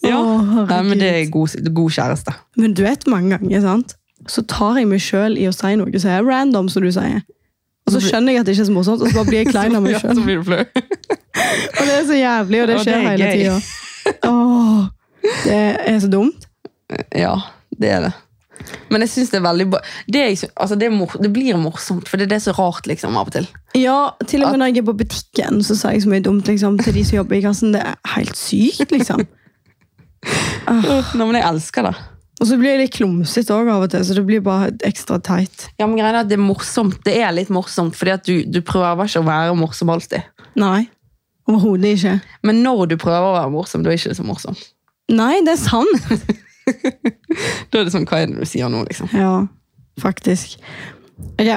Ja.
Å, herregud.
Nei, men det er god, god kjæreste.
Men du vet mange ganger, sant? så tar jeg meg sjøl i å si noe som er random, som du sier. Og så skjønner jeg at det ikke er så morsomt, og så bare blir jeg klein av meg sjøl.
blir du flau.
Og det er så jævlig, og det
Og det
skjer
er
hele
gøy.
tida. Åh, Det er så dumt.
Ja, det er det. Men jeg syns det er veldig bra. Det, er, ikke- altså det, er mor, det blir morsomt, for det er det så rart liksom av og til.
Ja, til og med når jeg er på butikken, så sier jeg så mye dumt liksom, til de som jobber i kassen. Det er helt sykt, liksom.
Ah. Nå, men jeg elsker det.
Og så blir jeg litt klumsete òg av og til, så det blir bare ekstra teit.
Ja, men greia er at det er morsomt. Det er litt morsomt, fordi at du, du prøver ikke å være morsom alltid.
Nei. Overhodet ikke.
Men når du prøver å være morsom, da er ikke det så morsomt.
Nei, det er sant!
Da er det sånn, hva er det du sier nå, liksom?
Ja, faktisk. Ok,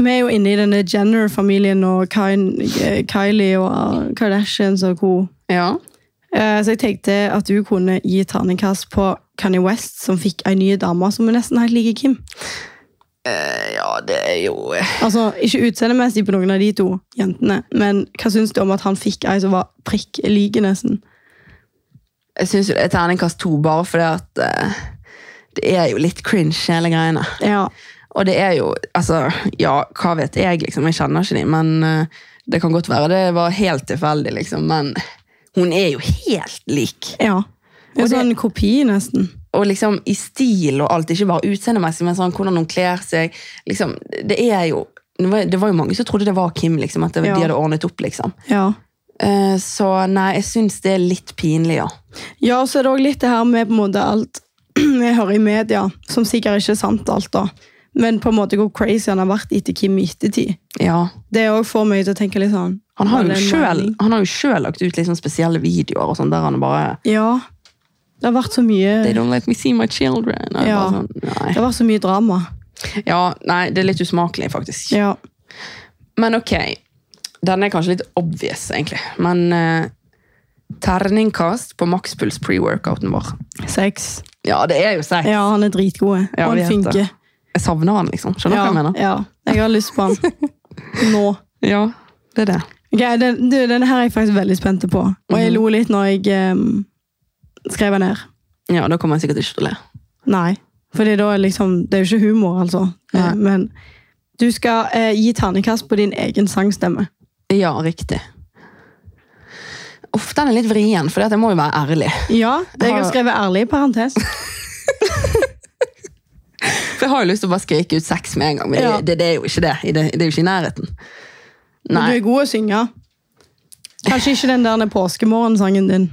Vi er jo inne i denne Jenner-familien og Kyn- eh, Kylie og Kardashians og co.
Ja.
Eh, Så jeg tenkte at du kunne gi terningkast på Kanye West, som fikk ei ny dame som er nesten helt like Kim.
Eh, ja, det er jo eh,
Altså, Ikke utseendemessig på noen av de to jentene, men hva syns du om at han fikk ei som var prikk like, nesten?
Jeg syns jo det er terningkast to, bare fordi at eh, det er jo litt cringe, hele greiene.
Ja.
Og det er jo Altså, ja, hva vet jeg, liksom. Jeg kjenner ikke de, men eh, det kan godt være det var helt tilfeldig, liksom. Men hun er jo helt lik.
ja. Det
Og
er
det-
sånn kopi, nesten.
Og liksom i stil og alt, ikke bare utseendemessig, men sånn hvordan hun kler seg. Liksom, det er jo det var, det var jo mange som trodde det var Kim, liksom, at det,
Ja.
de hadde ordnet opp. liksom.
Ja.
Eh, så nei, jeg syns det er litt pinlig, ja.
Ja, og så er det også litt det her med på en måte alt vi hører i media, som sikkert ikke er sant alt da, men på en måte hvor crazy han har vært etter Kim i ettertid.
ja.
Det også får meg til å tenke litt sånn,
Han har jo
Eller en
selv,
mening.
han har jo selv lagt ut liksom spesielle videoer og sånn, der han bare
Ja. Det har vært så mye
They don't let me see my children. Og jeg
Ja.
bare
Det
Sånn,
har vært så mye drama.
nei. ja, nei, det er litt usmakelig, faktisk.
Ja.
Men ok, den er kanskje litt obvious, egentlig. Men eh, terningkast på makspuls pre-workouten vår.
Sex.
Ja, det er jo sex.
Ja, han er dritgod.
Ja,
og
vi
han
vet
funker.
det. Jeg savner han, liksom. Skjønner du
Ja,
hva jeg mener?
ja. Jeg har lyst på han. Nå.
Ja, det er det.
Ok, den, du, denne her er jeg faktisk veldig spent på. Og
Mhm.
jeg lo litt når jeg em, skrev den her.
Ja, da kommer jeg sikkert ikke til å le.
Nei. Fordi da er liksom, det er jo ikke humor, altså.
Nei.
Eh, Men du skal eh, gi ternekast på din egen sangstemme.
Ja, riktig. Uff, den er litt vrien, for jeg må jo være ærlig.
Ja, jeg har
Har-
skrevet ærlig i parentes.
For jeg har jo lyst til å bare skrike ut sex med en gang, men
Ja.
det, det, det er jo ikke det. I Det, det er jo ikke i nærheten.
Men
Nei,
Du er god å synge. Kanskje ikke den der påskemorgensangen din.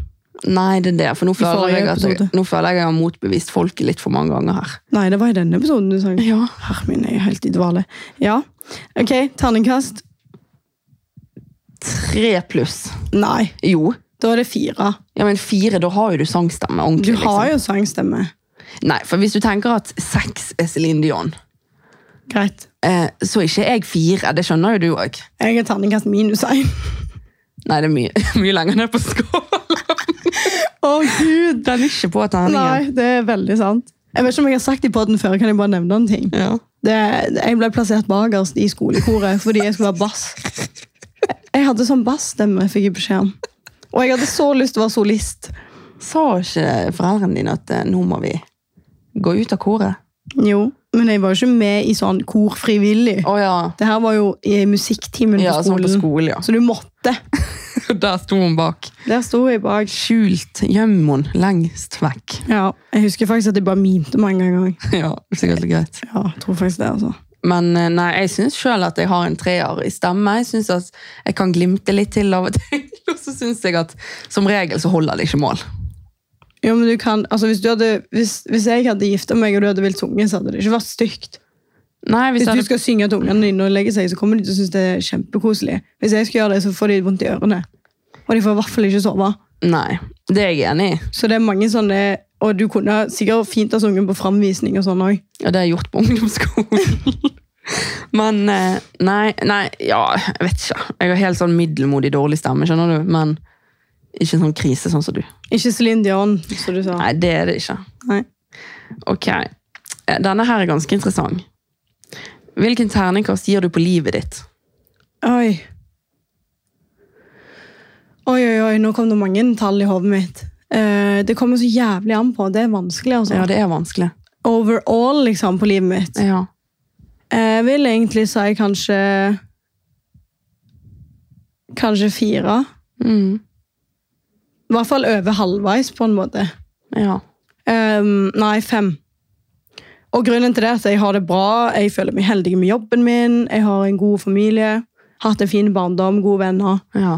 nei, det er det. For nå føler,
forrige
jeg at jeg,
episode.
nå føler jeg at jeg har motbevist folket litt for mange ganger her.
Nei, det var i denne episoden du sang.
Ja.
Herre min, jeg er helt i dvale. Ja, ok, ternekast.
Tre pluss.
Nei,
Jo.
da er det fire.
Ja, men fire, da har jo du sangstemme
Du
ordentlig.
har jo sangstemme.
liksom. Nei, for hvis du tenker at sex er Celine Dion,
Greit.
eh, så er ikke jeg fire. Det skjønner jo du òg.
Jeg har ternekast minus én.
Nei, det er mye, mye lenger ned på skålen.
Å, Gud!
Den er ikke på terningen.
Nei, det er veldig sant. Jeg vet ikke om jeg har sagt det i podden før, kan jeg bare nevne en ting?
Ja.
Det, jeg ble plassert bakerst i skolekoret fordi jeg skulle være bass. Jeg hadde sånn bassstemme, fikk jeg beskjed om. Og jeg hadde så lyst til å være solist.
Sa ikke foreldrene dine at eh, nå må vi gå ut av koret?
Jo, men jeg var jo ikke med i sånn kor frivillig.
Å ja.
Det her var jo i musikktimen
ja
på
sånn
skolen.
på skolen, ja.
Så du måtte.
Der sto hun bak.
Der sto jeg bak.
Skjult, gjem hun lengst vekk.
Ja, jeg husker faktisk at jeg bare mimte mange ganger.
Ja, sikkert greit.
Ja, jeg tror faktisk det, altså.
Men eh, nei, jeg syns sjøl at jeg har en treer i stemme. Jeg synes at jeg kan glimte litt til av og til. Og så syns jeg at som regel så holder det ikke mål.
Jo, men du kan, altså hvis, du hadde, hvis, hvis jeg hadde gifta meg, og du hadde villet tunge, så hadde det ikke vært stygt.
Nei, hvis
Hvis
jeg
du
hadde
skal synge til ungene dine og legge seg, så kommer de til å synes det er kjempekoselig. Hvis jeg skal gjøre det, så får de vondt i ørene. Og de får i hvert fall ikke sove.
Nei, det er jeg enig i.
Så det er mange sånne Og du kunne sikkert fint ha sunget på framvisning og sånn òg.
Og det har jeg gjort på ungdomsskolen. Men eh, nei, nei, ja, jeg vet ikke. Jeg har helt sånn middelmodig dårlig stemme, skjønner du. Men ikke sånn krise sånn som du.
Ikke Celine Dion, som du sa.
Nei, det er det ikke.
Nei.
Ok, Eh, denne her er ganske interessant. Hvilken terningkast gir du på livet ditt?
Oi. Oi, oi, oi, nå kom det mange tall i hodet mitt. Eh, det kommer så jævlig an på. Det er vanskelig, altså.
Ja, det er vanskelig.
Overall, liksom, på livet mitt.
Ja.
Jeg vil egentlig si kanskje Kanskje fire.
Mm,
I hvert fall over halvveis, på en måte.
ja.
Ehm, nei, fem. Og grunnen til det er at jeg har det bra, jeg føler meg heldig med jobben min, jeg har en god familie, hatt en fin barndom, gode venner.
Ja.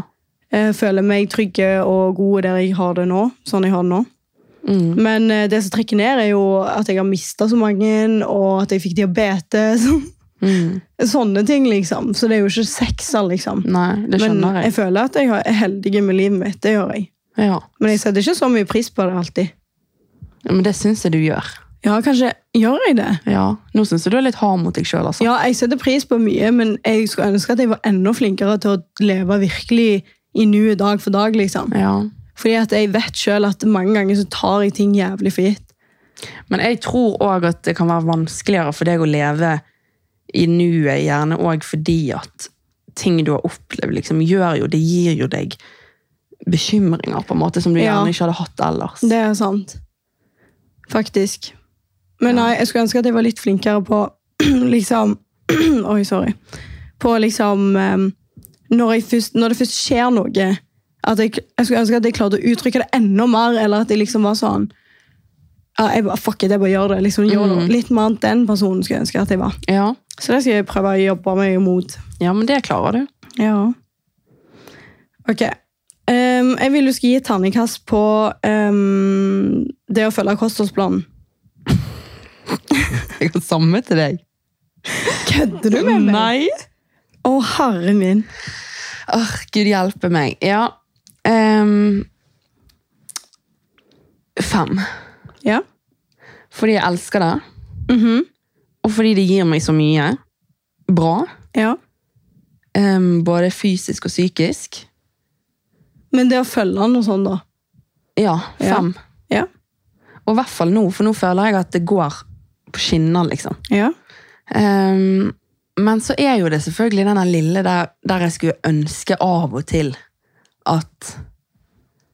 Jeg Eh, føler meg trygge og gode der jeg har det nå, sånn jeg har det nå.
Mm.
Men eh, det som trekker ned, er jo at jeg har mista så mange, og at jeg fikk diabetes.
Mm.
Sånne ting, liksom. Så det er jo ikke sekser, liksom.
Nei, det
Men
skjønner
jeg
jeg.
føler at jeg har- er heldig med livet mitt. Det gjør jeg.
Ja.
Men jeg setter ikke så mye pris på det alltid.
Men det syns jeg du gjør.
Ja, kanskje gjør jeg det.
Ja. Nå syns jeg du er litt hard mot deg sjøl, altså.
Ja, jeg setter pris på mye, men jeg skulle ønske at jeg var enda flinkere til å leve virkelig i nuet dag for dag, liksom.
ja.
Fordi at jeg vet selv at mange ganger så tar jeg ting jævlig for gitt.
Men jeg tror òg at det kan være vanskeligere for deg å leve i nuet, gjerne òg fordi at ting du har opplevd, liksom, gjør jo Det gir jo deg bekymringer på en måte som du
Ja.
gjerne ikke hadde hatt ellers.
Det er sant. Faktisk. Men nei, jeg skulle ønske at jeg var litt flinkere på liksom Oi, sorry. På liksom em, når, jeg først, når det først skjer noe at jeg, jeg skulle ønske at jeg klarte å uttrykke det enda mer, eller at jeg liksom var sånn ja, jeg bare, Fuck it, jeg bare gjør det. liksom gjør det. Litt mer enn den personen skulle jeg ønske at jeg var.
Ja.
Så det skal jeg prøve å jobbe meg imot.
ja, men det klarer du.
Ja. Ok. Ehm, jeg vil du skal gi et terningkast på ehm, det å følge kostholdsplanen.
Jeg har samme til deg.
Kødder
Nei.
Å, herre min.
Åh, Gud hjelpe meg. Ja. ehm, fem.
Ja.
Fordi jeg elsker det,
Mhm.
og fordi det gir meg så mye bra.
ja.
ehm, både fysisk og psykisk.
Men det å følge han og sånn, da.
Ja,
Ja.
fem.
Ja.
Og i hvert fall nå, for nå føler jeg at det går på skinner, liksom.
Ja.
Ehm, men så er jo det selvfølgelig den der lille der, der jeg skulle ønske av og til at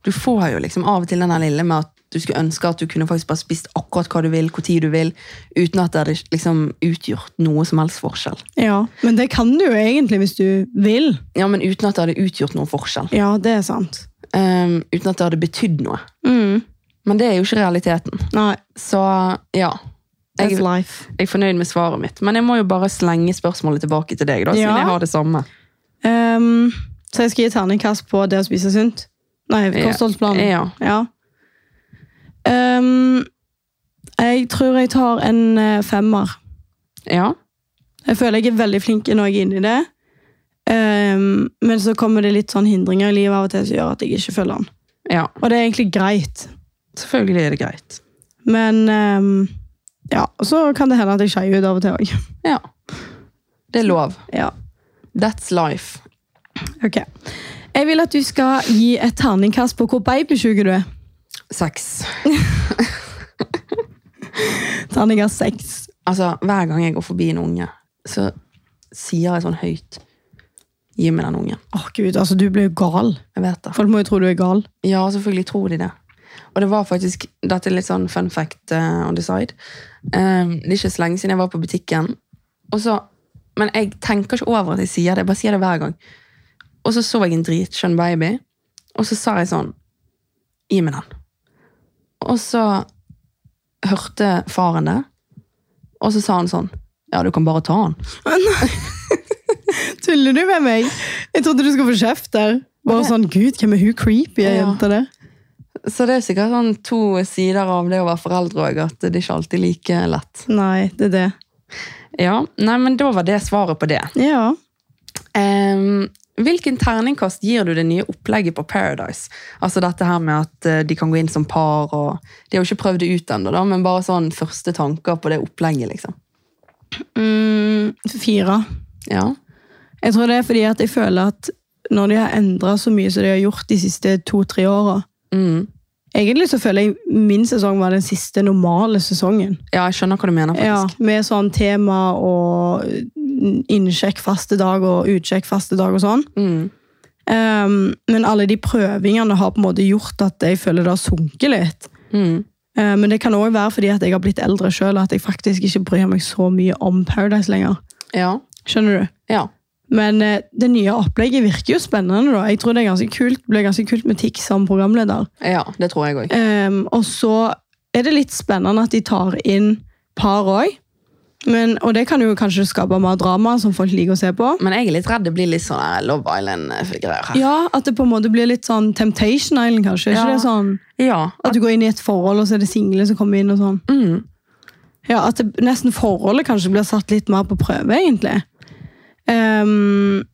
Du får jo liksom av og til den der lille med at du skulle ønske at du kunne faktisk bare spist akkurat hva du vil, hvor tid du vil, uten at det hadde liksom utgjort noe som helst forskjell.
ja. Men det kan du jo egentlig hvis du vil.
Ja, men uten at det hadde utgjort noen forskjell.
Ja, det er sant.
Ehm, uten at det hadde betydd noe.
Mm.
Men det er jo ikke realiteten.
Nei.
Så ja.
That's
Jeg,
life.
jeg er fornøyd med svaret mitt, men jeg må jo bare slenge spørsmålet tilbake til deg, da, siden
Ja.
jeg har det samme.
Ehm, så jeg skal gi terningkast på det å spise sunt. Nei,
Ja.
kostholdsplanen.
Ja.
Ja. Ehm, jeg tror jeg tar en eh, femmer.
Ja.
Jeg føler jeg er veldig flink når jeg er inne i det. Ehm, men så kommer det litt sånn hindringer i livet av og til som gjør at jeg ikke følger den.
ja.
Og det er egentlig greit.
Selvfølgelig er det greit.
Men ehm, ja, og så kan det hende at jeg skeier ut av og til òg.
Ja. Det er lov.
Ja,
That's life.
ok. Jeg vil at du skal gi et terningkast på hvor babysjuk du er.
Sex.
Terningkast seks.
Altså, hver gang jeg går forbi en unge, så sier jeg sånn høyt Gi meg den ungen.
Å gud, altså du blir jo gal.
Jeg vet det.
Folk må jo tro du er gal.
Ja, selvfølgelig tror de det. Og det var faktisk Dette er litt sånn fun fact eh, on the side. Um, det er ikke så lenge siden jeg var på butikken. Og så, men jeg tenker ikke over at jeg sier det. Jeg bare sier det hver gang. Og så så jeg en dritskjønn baby, og så sa jeg sånn Gi meg den. Og så hørte faren det, og så sa han sånn Ja, du kan bare ta den.
Tuller du med meg? Jeg trodde du skulle få kjeft der. Bare sånn, gud, hvem er hun creepy
Ja.
jenta der?
Så det er sikkert sånn to sider av det å være foreldre òg, at det er ikke alltid like lett.
Nei, det er det.
Ja, nei, men Da var det svaret på det.
Ja.
Ehm, hvilken terningkast gir du det nye opplegget på Paradise? Altså dette her med at eh, de kan gå inn som par og De har jo ikke prøvd det ut ennå, da, men bare sånn første tanker på det opplegget, liksom.
Mm, fire.
Ja.
Jeg tror det er fordi at jeg føler at når de har endra så mye som de har gjort de siste to-tre åra
Mm.
Egentlig så føler jeg min sesong var den siste normale sesongen.
ja, jeg skjønner hva du mener,
Ja,
faktisk.
med sånn tema og innsjekk faste dag og utsjekk faste dag og sånn.
Mm.
Ehm, men alle de prøvingene har på en måte gjort at jeg føler det har sunket litt.
Mm.
Eh, Men det kan òg være fordi at jeg har blitt eldre sjøl at jeg faktisk ikke bryr meg så mye om Paradise lenger.
Ja.
Skjønner du?
ja.
Men eh, det nye opplegget virker jo spennende. da. Jeg tror Det er ganske kult. Det blir ganske kult med TIX som programleder.
Ja, det tror jeg òg.
Ehm, og så er det litt spennende at de tar inn par òg. Og det kan jo kanskje skape mer drama, som folk liker å se på.
Men jeg er litt redd det blir litt sånn eh, Love Island-greier her.
Ja, At det på en måte blir litt sånn Temptation Island, kanskje.
Ja.
Ikke det sånn
Ja.
At du går inn i et forhold, og så er det single som kommer inn. og sånn.
Mm.
Ja, At det, nesten forholdet kanskje blir satt litt mer på prøve, egentlig. Ehm,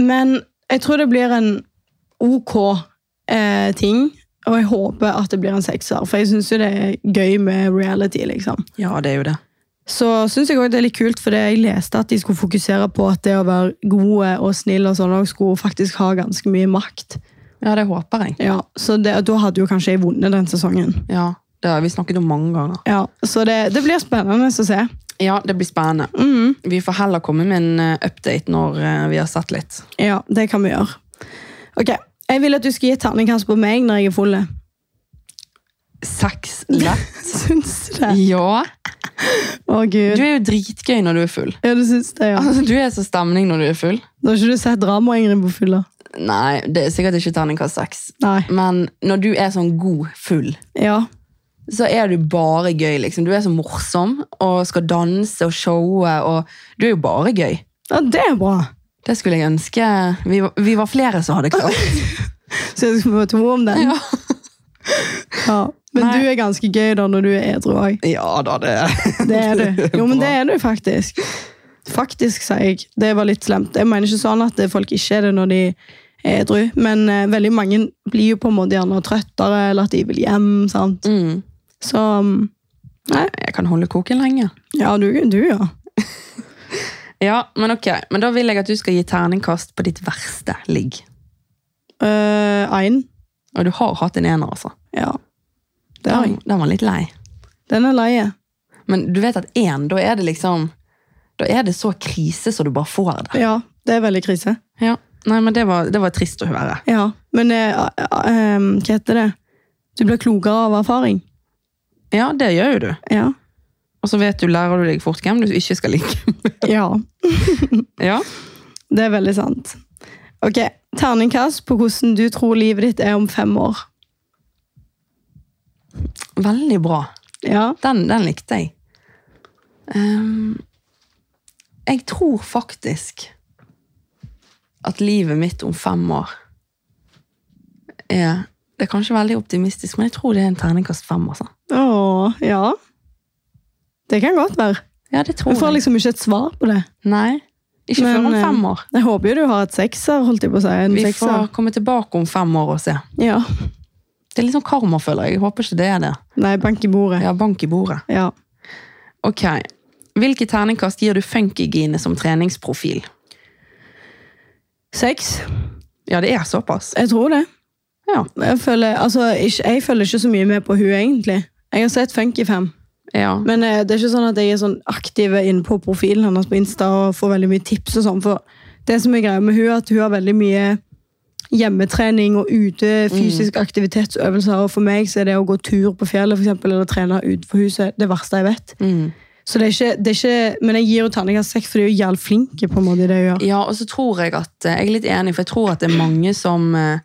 men jeg tror det blir en ok eh, ting, og jeg håper at det blir en sekser. For jeg syns jo det er gøy med reality, liksom.
ja, det er jo det.
Så syns jeg òg det er litt kult, fordi jeg leste at de skulle fokusere på at det å være gode og snill og sånn og skulle faktisk ha ganske mye makt.
Ja, det håper jeg.
Ja, Så det, da hadde jo kanskje jeg vunnet den sesongen.
Ja, Det har vi snakket om mange ganger.
Ja, Så det, det blir spennende å se.
Ja, det blir spennende.
Mm.
Vi får heller komme med en eh, update når eh, vi har sett litt.
Ja, det kan vi gjøre. Ok, Jeg vil at du skal gi et terningkast på meg når jeg er full.
Sex lett.
Syns du det?
ja.
Å,
Du
gud.
er jo dritgøy når du er full.
Ja, du syns det, ja.
Altså, du er så stemning når du er full.
Da har ikke du sett drama, Ingrid, på fylla?
Nei, det er sikkert ikke terningkast seks.
Nei.
Men når du er sånn god full,
Ja.
så er du bare gøy, liksom. Du er så morsom og skal danse og showe, og du er jo bare gøy.
ja, det er bra.
Det skulle jeg ønske Vi var, vi var flere som hadde klart.
Så jeg skal få to om den.
Ja.
Ja. Men
Nei.
du er ganske gøy da når du er edru òg.
ja da, det
Det er du. Jo, men det er du faktisk. Faktisk, sier jeg. Det var litt slemt. Jeg mener ikke sånn at eh, folk ikke er det når de er edru, men eh, veldig mange blir jo på en måte gjerne trøttere, eller at de vil hjem, sant.
Mm.
Så um, Nei.
Jeg kan holde koken lenge.
Ja, du, du ja.
Ja, men ok. Men da vil jeg at du skal gi terningkast på ditt verste ligg.
Én.
Og du har hatt en ener, altså.
Eh, ja. Det har
Den,
jeg.
den var litt lei.
Den er leie.
Men du vet at én, da er det liksom Da er det så krise så du bare får det.
Ja, det er veldig krise.
Ja. Nei, men det var, det var trist å høre.
Ja, men eh, a- a- em, hva heter det? Du blir klokere av erfaring.
Ja, det gjør jo du.
Ja.
Og så vet du, lærer du deg fort hvem du ikke skal ligge med.
ja,
Ja.
det er veldig sant. Ok, terningkast på hvordan du tror livet ditt er om fem år.
Veldig bra.
Ja,
Den, den likte jeg. Ehm, jeg tror faktisk at livet mitt om fem år er Det er kanskje veldig optimistisk, men jeg tror det er en terningkast fem. Altså.
Åh, ja. Det kan godt være.
Ja, det tror
Du får
jeg.
liksom ikke et svar på det.
Nei, ikke
Men,
før om
eh,
fem år.
Jeg håper jo du har et sekser, holdt jeg på å si. En
Vi
sekser.
får komme tilbake om fem år og se.
Ja.
Det er litt sånn karma, føler jeg. Jeg håper ikke det er det.
Nei, bank i bordet.
Ja, bank i bordet.
Ja.
Ok. Hvilke terningkast gir du funkygine som treningsprofil?
Seks.
Ja, det er såpass.
Jeg tror det.
Ja.
Jeg føler, altså, ikke, jeg føler ikke så mye med på hun egentlig. Jeg har sett Funky 5.
Ja.
Men eh, det er ikke sånn at jeg er sånn aktiv inne på profilen hennes på Insta og får veldig mye tips og sånn. For det som er greia med hun er at hun har veldig mye hjemmetrening og ute
Mm.
fysisk aktivitetsøvelser. Og for meg så er det å gå tur på fjellet for eksempel, eller trene utenfor huset det verste jeg vet.
Mm.
Så det er ikke, det er ikke Men jeg gir jo terningkast seks, fordi hun er jævlig flink på en måte i det hun gjør.
Ja, og så tror jeg at eh, Jeg er litt enig, for jeg tror at det er mange som eh,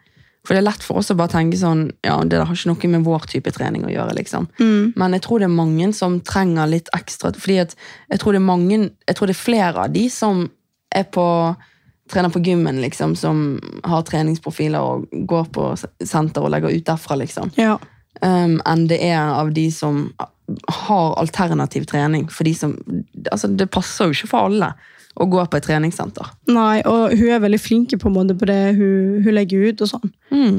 For det er lett for oss å bare tenke sånn Ja, det har ikke noe med vår type trening å gjøre, liksom. Men jeg tror det er mange som trenger litt ekstra Fordi at jeg tror det er mange Jeg tror det er flere av de som er på Trener på gymmen, liksom, som har treningsprofiler og går på s- senter og legger ut derfra, liksom.
Ja.
Um, enn det er av de som har alternativ trening. For de som Altså, det passer jo ikke for alle å gå på et treningssenter.
Nei, og hun er veldig flink på, en måte på det hun, hun legger ut. og sånn.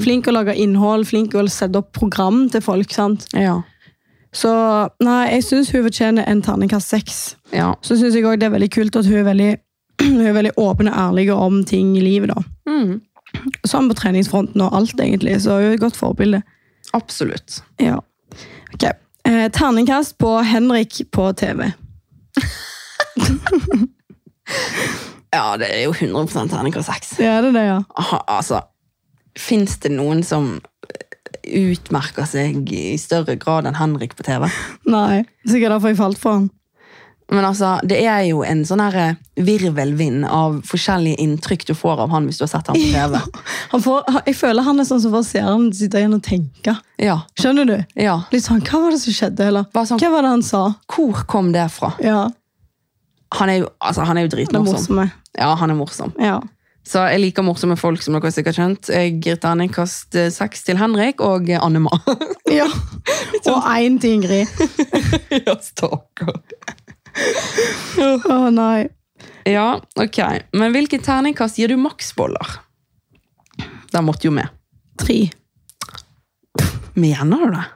Flink å lage innhold, flink å sette opp program til folk. sant?
Ja.
Så nei, jeg syns hun fortjener en terningkast seks.
Ja.
Så syns jeg òg det er veldig kult at hun er veldig, hun er veldig åpen og ærlig om ting i livet. da.
Mm.
Sånn på treningsfronten og alt, egentlig. Så hun er et godt forbilde.
Absolutt.
Ja. Ok. Eh, terningkast på Henrik på TV.
Ja, det er jo 100 terningkast 6.
Ja, det er det, ja.
Altså, Fins det noen som eh, utmerker seg i større grad enn Henrik på TV?
Nei, Sikkert derfor jeg falt for han.
Men altså, det er jo en sånn her virvelvind av forskjellige inntrykk du får av han hvis du har sett han på TV.
han får, han- jeg føler han er sånn som får seeren sitte igjen og tenke.
Ja,
Skjønner du?
ja.
Litt sånn, Hva var det som skjedde? eller?
Bare sånn-
Hva var det han sa?
Hvor kom det fra?
Ja,
Han er jo, altså, han er jo
Det er
dritmorsom.
morsomme.
Ja, han er morsom.
Ja.
Så jeg liker morsomme folk, som dere sikkert har skjønt. Jeg gir terningkast eh, seks til Henrik og eh, Anne-Ma.
ja. Og én til Ingrid.
ja, stakkar.
Å nei.
Ja, ok. Men hvilken terningkast gir du maksboller? Den måtte jo med.
Tre.
Mener du det?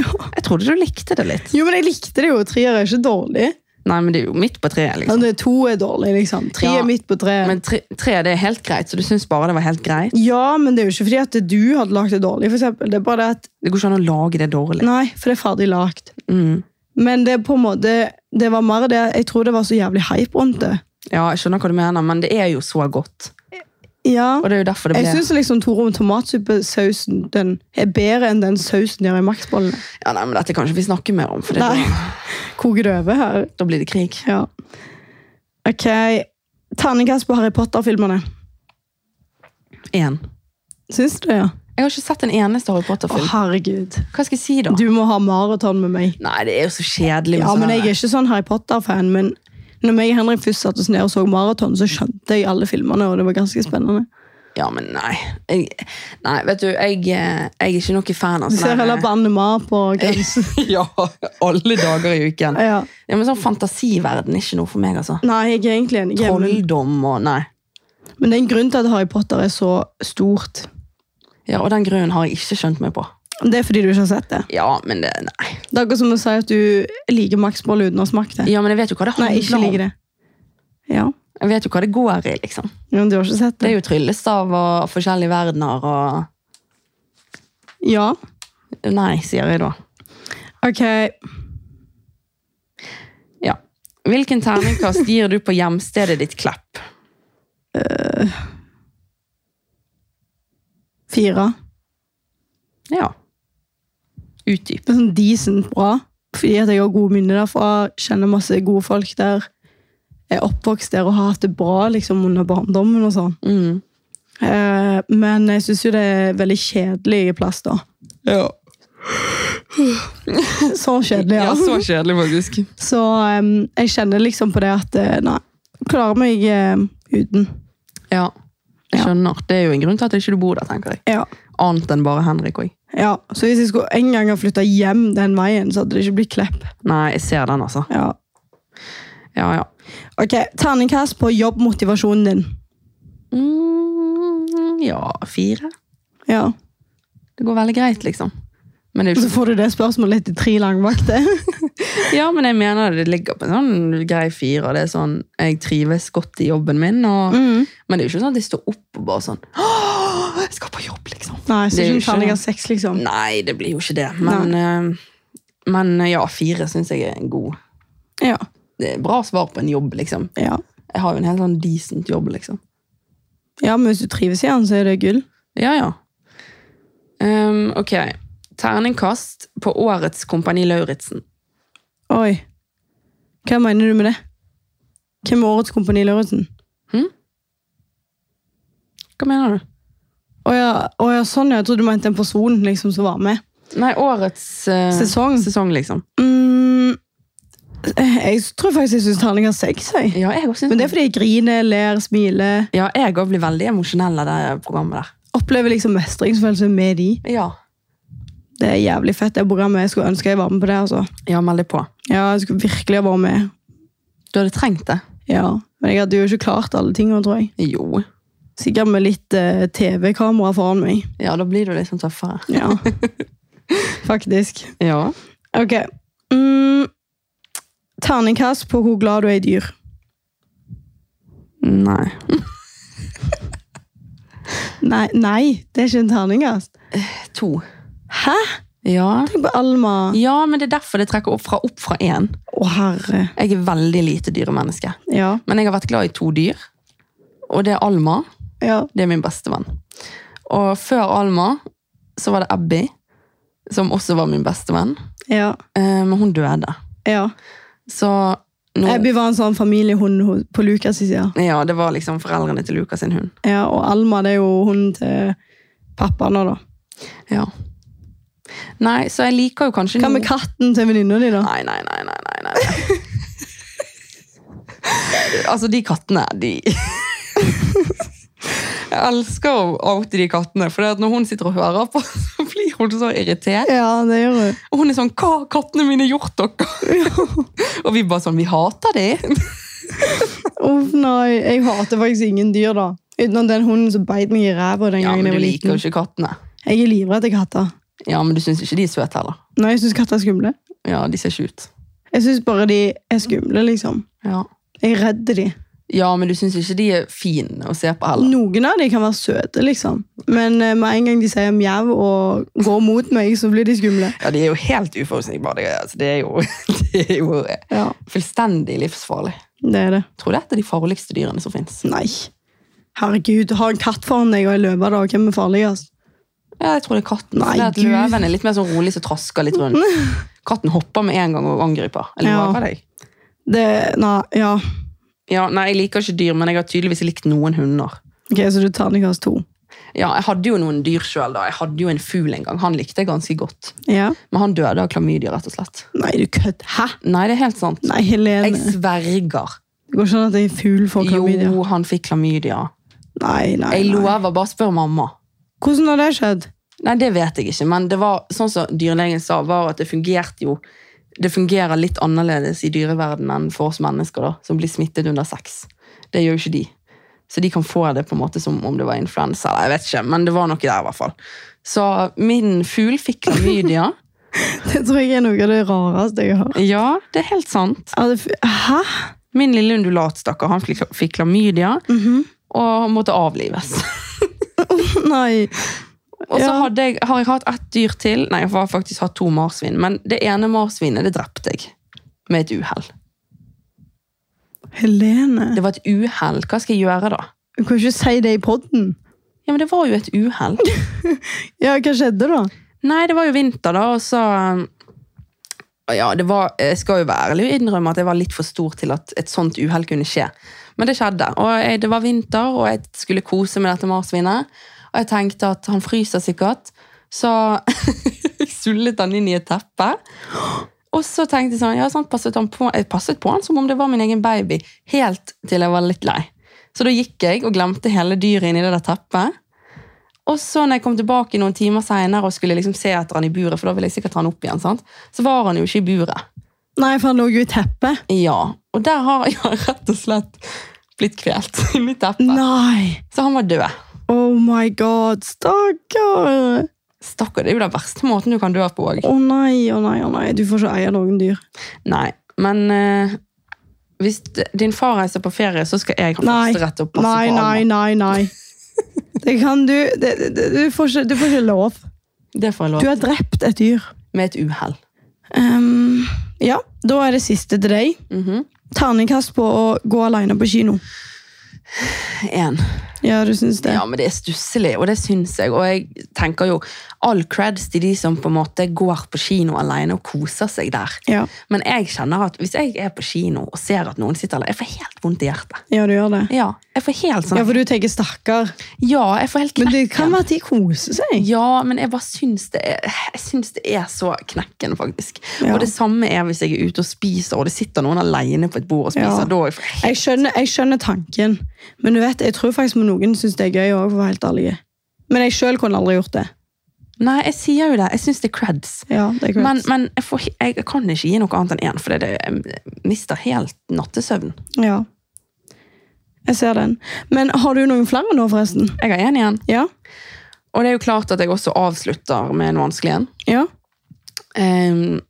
Ja.
Jeg trodde du likte det litt.
Jo, men jeg likte det jo. Treer er ikke dårlig.
Nei, men det er jo midt på treet,
Ja,
liksom.
det er to er dårlig, liksom. Tre
Ja.
er midt på treet.
Men tre, tre, det er helt greit, så du syns bare det var helt greit?
ja, men det er jo ikke fordi at du hadde lagt det dårlig. For eksempel. det er bare det at,
Det går ikke an å lage det dårlig.
Nei, for det er ferdig lagt.
Mm.
Men det er på en måte, det var mer det Jeg tror det var så jævlig hype rundt det.
Ja, jeg skjønner hva du mener, men det er jo så godt.
Ja.
Og det er jo derfor det
Jeg
ble
syns liksom Torom tomatsuppesausen den er bedre enn den sausen de har i Max-bollene.
Ja, nei, men Dette kan ikke vi snakke mer om, for det,
Nei.
da,
Koker det over her?
da blir det krig.
Ja. Ok. Terningkast på Harry Potter-filmene.
Én.
Syns du det, ja?
Jeg har ikke sett en eneste Harry
Å,
Potter-film.
herregud.
Hva skal jeg si, da?
Du må ha maraton med meg.
Nei, det er jo så kjedelig. med
Ja,
sånn
men
her-
Jeg er ikke sånn Harry Potter-fan, men når jeg og Henrik først satte oss ned og så maraton, så skjønte jeg alle filmene, og det var ganske spennende.
Ja, men nei. Jeg, nei, vet du, jeg, eh, jeg er ikke noen fan av
Du ser heller Bannemar på grensen.
Ja, alle dager i uken.
Ja.
Ja, men sånn fantasiverden er ikke noe for meg, altså.
Nei, jeg er egentlig enig. Men-
Trolldom og Nei.
Men det er en grunn til at Harry Potter er så stort.
Ja, Og den grunnen har jeg ikke skjønt meg på.
Det er fordi du ikke har sett det.
Ja, men det, nei.
Det er akkurat som å si at du liker Max Boll uten å ha smakt det.
Ja, men jeg vet jo hva det
Nei, ikke
handler om.
liker det. Ja,
Jeg vet jo hva det går i, liksom.
men du har ikke sett
Det
det.
er jo tryllestav og forskjellige verdener og
Ja,
Nei, sier jeg da.
ok.
Ja. Hvilken terningkast gir du på hjemstedet ditt Klepp?
Fire.
Ja. Utdyp.
Det er sånn decent bra. Fordi at jeg har gode minner derfra, kjenner masse gode folk der. Er oppvokst der og har hatt det bra liksom, under barndommen og sånn.
Mm.
Eh, men jeg syns jo det er veldig kjedelig plass, da.
Ja.
Så kjedelig, ja.
ja, så kjedelig, faktisk.
Så em, jeg kjenner liksom på det at eh, Nei, klarer meg eh, uten.
Ja. Jeg skjønner. Det er jo en grunn til at ikke du bor der, tenker jeg.
Ja.
Annet enn bare Henrik òg.
ja. Så hvis jeg skulle en gang ha flytta hjem den veien, så hadde det ikke blitt Klepp.
Nei, jeg ser den, altså.
Ja.
Ja, ja.
Ok, Terningkast på jobbmotivasjonen din.
Mm, ja, fire.
Ja.
Det går veldig greit, liksom. Men, det er
Så
jo
får du det spørsmålet etter tre langvakter.
ikke, ja, men jeg mener det ligger på en sånn grei fire. Det er sånn, Jeg trives godt i jobben min, og,
Mm.
men det er jo ikke sånn at jeg står opp og bare sånn Åh, jeg skal på jobb, liksom.
Nei, så
Det er
ikke
jo
en terningkast
ikke-
seks, liksom.
Nei, det blir jo ikke det. Men, eh, men eh, ja, fire syns jeg er en god
Ja.
Det er bra svar på en jobb, liksom.
ja.
Jeg har jo en helt sånn decent jobb, liksom.
Ja, men hvis du trives i den, så er det gull.
Ja, ja. Ehm, ok. Terningkast på årets Kompani Lauritzen.
Oi. Hva mener du med det? Hvem er årets Kompani Lauritzen?
Hva mener du?
Å ja, å ja, sånn ja. Jeg trodde du mente en person liksom, som var med.
Nei, årets eh,
Sesong.
sesong, liksom.
Mm, jeg tror faktisk jeg syns terningkast seks. jeg.
Ja, jeg òg syns
Men det er fordi jeg griner, ler, smiler.
Ja, jeg også blir veldig emosjonell av det programmet der.
Opplever liksom mestringsfølelse med de.
Ja.
Det er jævlig fett, det programmet. Jeg skulle ønske jeg var med på det. altså.
Ja, meld deg på.
Ja, jeg skulle virkelig ha vært med.
Du hadde trengt det.
Ja, Men jeg hadde jo ikke klart alle tingene, tror jeg.
Jo.
Sikkert med litt eh, TV-kamera foran meg.
Ja, da blir du liksom tøffere.
Ja. Faktisk.
Ja.
Ok. Mm, terningkast på hvor glad du er i dyr.
Nei.
Nei, nei, det er ikke en terningkast.
To.
Hæ?
Ja.
Tenk på Alma.
ja, men det er derfor det trekker opp fra, opp fra én.
Å, herre.
Jeg er veldig lite dyremenneske.
Ja.
Men jeg har vært glad i to dyr. Og det er Alma.
ja.
Det er min beste venn. Og før Alma så var det Abby, som også var min beste venn.
Ja.
Eh, Men hun døde.
ja.
Så nå
Abby var en sånn familiehund ho- på Lukas' side.
Ja, det var liksom foreldrene til Lukas sin hund.
Ja, og Alma det er jo hunden til pappa nå, da.
Ja. Nei, så jeg liker jo kanskje
Hva med
noe-
katten til venninna di, da?
Nei, nei, nei, nei, nei, nei. altså, de kattene, de Jeg elsker å oute de kattene, for det at når hun sitter og hører på, så blir hun så irritert.
Ja, det gjør hun.
Og hun er sånn 'Hva har kattene mine gjort dere?' og vi bare sånn 'Vi hater de'.
Uff, nei. Jeg hater faktisk ingen dyr, da. Utenom den hunden som beit meg i ræva den
Ja,
gangen
men
jeg
du
var
liker jo
liten.
ikke kattene.
Jeg er livredd for katter.
Ja, men du syns ikke de er søte heller.
Nei, jeg syns katter er skumle.
Ja, de ser ikke ut.
Jeg syns bare de er skumle, liksom.
Ja.
Jeg er redd de.
ja, men du syns ikke de er fine å se på heller.
Noen av de kan være søte, liksom. Men eh, med en gang de sier mjau og går mot meg, så blir de skumle.
Ja, de er jo helt uforutsigbare. det er- Altså, det er jo, det er jo eh,
Ja,
fullstendig livsfarlig.
det er det.
Tror dette er de farligste dyrene som fins.
Nei. Herregud, har en katt foran deg og ei løve, da. Hvem er farligst?
Ja, jeg tror det er katten.
Nei,
for det at
Gud.
Løven er litt mer sånn rolig som trasker litt rundt. Katten hopper med en gang og angriper. Jeg
Ja.
lover deg.
Det Nei, ja.
Ja, nei, jeg liker ikke dyr, men jeg har tydeligvis likt noen hunder.
Ok, så du tar terningkast to.
Ja, Jeg hadde jo noen dyr sjøl. Jeg hadde jo en fugl en gang. Han likte jeg ganske godt.
Ja.
Men han døde av klamydia, rett og slett.
Nei, du kødd. Hæ?
Nei, det er helt sant.
Nei,
Jeg
Helene.
sverger.
Det går ikke an at en fugl får klamydia.
Jo, han fikk klamydia.
Nei, nei,
Jeg lo
nei.
av å bare spørre mamma.
Hvordan har det skjedd?
Nei, det vet jeg ikke, men det var sånn som dyrlegen sa, var at det fungerte jo Det fungerer litt annerledes i dyreverden enn for oss mennesker, da, som blir smittet under sex. Det gjør jo ikke de. Så de kan få det på en måte som om det var influensa, eller jeg vet ikke, men det var noe der i hvert fall. Så min fugl fikk klamydia.
Det tror jeg er noe av det rareste jeg har hørt.
ja, det er helt sant.
Er det f- Hæ?
Min lille undulat, stakkar, han fikk fikk klamydia og måtte avlives.
Nei.
Og så
Ja.
hadde jeg, har jeg hatt ett dyr til. Nei, jeg har faktisk hatt to marsvin. Men det ene marsvinet det drepte jeg med et uhell.
Helene.
Det var et uhell. Hva skal jeg gjøre da?
Du kan ikke si det i podden.
Ja, men det var jo et uhell.
Ja, hva skjedde da?
Nei, det var jo vinter, da, og så um, Ja, det var Jeg skal jo være ærlig og innrømme at jeg var litt for stor til at et sånt uhell kunne skje. Men det skjedde. Og jeg, det var vinter, og jeg skulle kose med dette marsvinet. Og jeg tenkte at han fryser sikkert, så jeg sullet han inn i et teppe. Og så tenkte jeg sånn, ja, sånn passet han på, jeg passet på han som om det var min egen baby, helt til jeg var litt lei. Så da gikk jeg og glemte hele dyret inni det der teppet. Og så når jeg kom tilbake noen timer senere og skulle liksom se etter han i buret, for da ville jeg sikkert ha han opp igjen, sant? så var han jo ikke i buret.
Nei, for han lå jo i teppet.
Ja, Og der har han rett og slett blitt kvelt inni teppet.
Nei.
Så han var død.
Oh my god, stakkar.
Stakkar, det er jo den verste måten du kan dø på òg.
Å nei, å nei, å nei. Du får ikke eie noen dyr.
Nei, men eh, hvis d- din far reiser på ferie, så skal jeg ha
Nei.
fosterrett og passe
Nei,
på
nei,
han.
nei, nei. Det kan du det, det, det, du, får ikke, du får ikke lov.
Det får jeg
Du
lov
har drept et dyr.
Med et uhell.
Ehm, ja, da er det siste til deg.
Mhm.
Terningkast på å gå alene på kino.
En.
Ja, du syns det?
Ja, men det er stusselig, og det syns jeg. Og jeg tenker jo all creds til de som på en måte går på kino alene og koser seg der.
Ja,
Men jeg kjenner at hvis jeg er på kino og ser at noen sitter alene, jeg får helt vondt i hjertet.
ja du gjør det.
Ja, jeg får helt sånn
Ja, for du tenker stakkar.
Ja, jeg får helt
Men det kan
knekken.
være at de koser seg.
Ja, men jeg bare syns det er, jeg syns det er så knekkende, faktisk.
Ja.
Og det samme er hvis jeg er ute og spiser, og det sitter noen alene på et bord og
Ja.
spiser. Da er jeg for-
Jeg skjønner, jeg skjønner tanken, men du vet, jeg tror faktisk noen syns det er gøy òg, for å være helt ærlig. Men jeg sjøl kunne aldri gjort det.
Nei, jeg sier jo det. Jeg syns det er creds.
Ja, det er correct.
Men, men jeg, får, jeg kan ikke gi noe annet enn én, for det, er det, jeg mister helt nattesøvnen.
Ja. Jeg ser den. Men har du noen flere nå, forresten?
Jeg har én igjen.
Ja?
Og det er jo klart at jeg også avslutter med en vanskelig en.
Ja?
Ehm,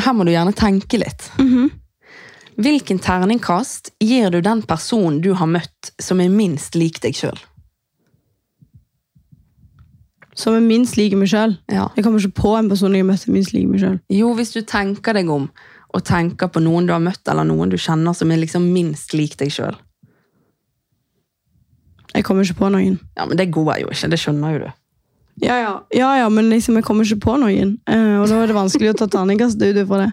her må du gjerne tenke litt. Hvilken terningkast gir du den personen du har møtt som er minst lik deg sjøl?
Som er minst lik meg sjøl.
Ja.
Jeg kommer ikke på en person jeg møtte minst lik meg sjøl.
Jo, hvis du tenker deg om og tenker på noen du har møtt eller noen du kjenner som er liksom minst lik deg sjøl.
Jeg kommer ikke på noen.
Ja, men det går jeg jo ikke. Det skjønner jo du.
Ja ja. ja, ja, men liksom, jeg kommer ikke på noen. Eh, og da er det vanskelig å ta terningkast ut fra det.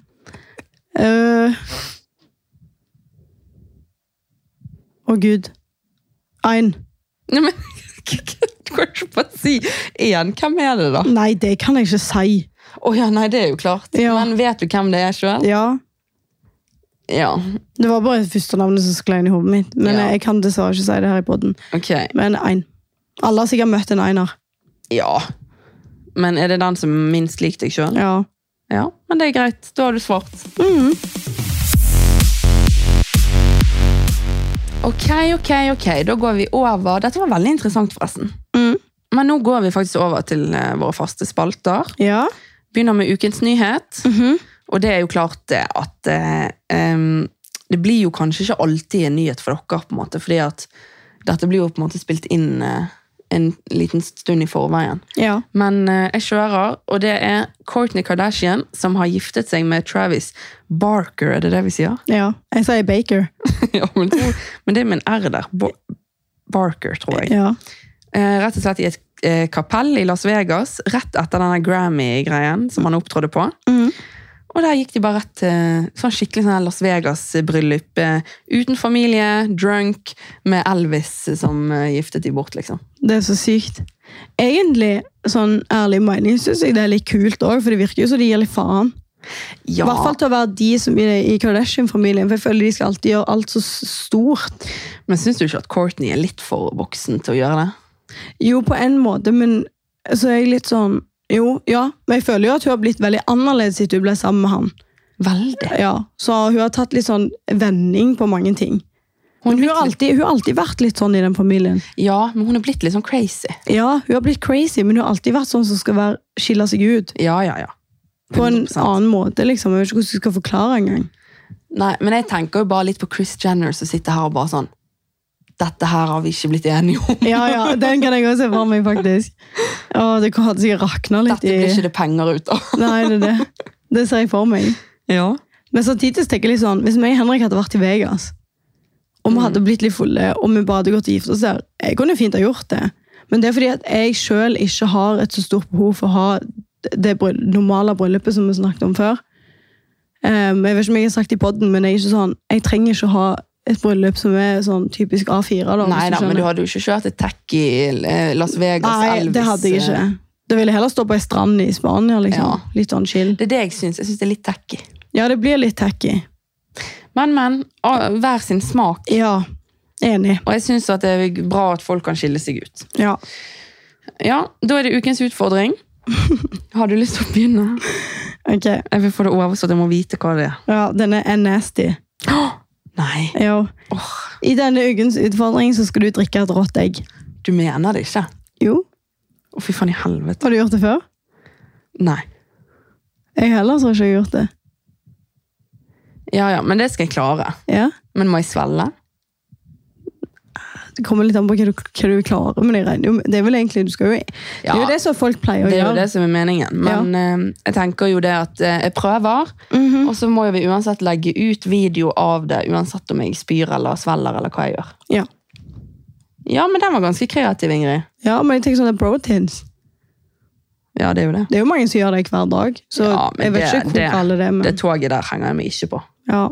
Eh. Å, gud. Ein.
Nei, men du kan ikke bare si én. Hvem er det, da?
Nei, det kan jeg ikke si.
Å ja, nei, det er jo klart.
Ja.
Men vet du hvem det er sjøl?
Ja,
Ja.
Det var bare førstenavnet som sklei inn i hodet mitt. Men
Ja.
jeg kan dessverre ikke si det her i podden.
Ok.
Men en. Alle har sikkert møtt en einer.
Ja. Men er det den som er minst lik deg sjøl?
Ja.
Ja, men det er greit. Da har du svart. Ok, ok, ok. Da går vi over. Dette var veldig interessant, forresten.
Mm.
Men nå går vi faktisk over til eh, våre faste spalter.
Ja.
Begynner med ukens nyhet. Og det er jo klart det at eh, em, det blir jo kanskje ikke alltid en nyhet for dere, på en måte, fordi at dette blir jo på en måte spilt inn eh, en liten stund i forveien.
ja.
Men eh, jeg kjører, og det er Kourtney Kardashian som har giftet seg med Travis Barker, er det det vi sier?
Ja. Jeg sier Baker.
ja, men, det- men det er med en R der. Bo Barker, tror jeg.
Ja.
Eh, rett og slett i et eh, kapell i Las Vegas, rett etter denne Grammy-greien som han opptrådde på.
Mhm.
Og der gikk de bare rett til sånn skikkelig sånn her Las Vegas-bryllup. eh, Uten familie, drunk, med Elvis eh, som eh, giftet de bort, liksom.
Det er så sykt. Egentlig, sånn ærlig mening, syns jeg det er litt kult òg, for det virker jo som de gir litt faen.
Ja.
I hvert fall til å være de som i, i Kardashian-familien, for jeg føler de skal alltid gjøre alt så stort.
Men syns du ikke at Courtney er litt for voksen til å gjøre det?
Jo, på en måte, men så er jeg litt sånn Jo, ja, men jeg føler jo at hun har blitt veldig annerledes etter hun ble sammen med han.
Veldig.
Ja, Så hun har tatt litt sånn vending på mange ting. Men hun har alltid, hun har alltid vært litt sånn i den familien.
Ja, men hun er blitt litt sånn crazy.
Ja, Hun har blitt crazy, men hun har alltid vært sånn som skal være, skille seg ut.
Ja, ja, ja.
På en
100%.
annen måte, liksom. Jeg vet ikke hvordan jeg skal forklare engang.
Nei, men jeg tenker jo bare litt på Chris Jenner som sitter her og bare sånn Dette her har vi ikke blitt enige om.
Ja, ja, den kan jeg også se for meg, faktisk. Å, det hadde sikkert rakna litt
Dette
i
blir ikke det penger ut av.
Nei, det er det. Det ser jeg for meg.
Ja.
Men samtidig så tenker jeg litt sånn, hvis meg og Henrik hadde vært i Vegas, og vi
Mm.
hadde blitt litt fulle, og vi bare hadde gått og gift oss der, jeg kunne fint ha gjort det. Men det er fordi at jeg selv ikke har et så stort behov for å ha det bryll- normale bryllupet som vi snakket om før. Ehm, jeg vet ikke om jeg har sagt det i podden, men jeg er ikke sånn, jeg trenger ikke å ha et bryllup som er sånn typisk A4 da. hvis
Nei da, men
skjønner.
du hadde jo ikke kjørt et tech i eh, Las Vegas.
Nei,
Elvis. eh.
det hadde jeg ikke. Da ville jeg heller stå på en strand i Spania, liksom.
Ja.
Litt sånn chill.
Det er det jeg syns. Jeg syns det er litt tacky.
Ja, det blir litt tacky.
Men, men. å, Hver sin smak.
Ja, enig.
Og jeg syns det er bra at folk kan skille seg ut.
Ja.
Ja, Da er det ukens utfordring. Har du lyst til å begynne?
Ok,
Jeg vil få det over så jeg må vite hva det er.
ja, denne er nasty.
Nei,
Jo. I denne ukens utfordring så skal du drikke et rått egg.
du mener det ikke?
Jo,
Å, fy faen i helvete.
har du gjort det før?
Nei.
Jeg heller tror ikke jeg har gjort det.
Ja, ja, men det skal jeg klare.
Ja,
Men må jeg svelle?
det kommer litt an på hva du, hva du klarer, men jeg regner jo med- Det er vel egentlig, du skal jo... Det
Ja,
er jo det som folk pleier å
det er jo
gjøre.
det som er meningen. Men eh, jeg tenker jo det at eh, jeg prøver,
Mhm.
og så må vi uansett legge ut video av det, uansett om jeg spyr eller svelger eller hva jeg gjør.
Ja.
Ja, men den var ganske kreativ, Ingrid.
ja, men jeg tenker sånn at proteins,
Ja, det er jo det.
det er jo mange som gjør det hver dag, så
Ja, men
jeg vet
det-
ikke hvor
det-
gale det er, men...
Det toget der henger jeg meg ikke på.
ja.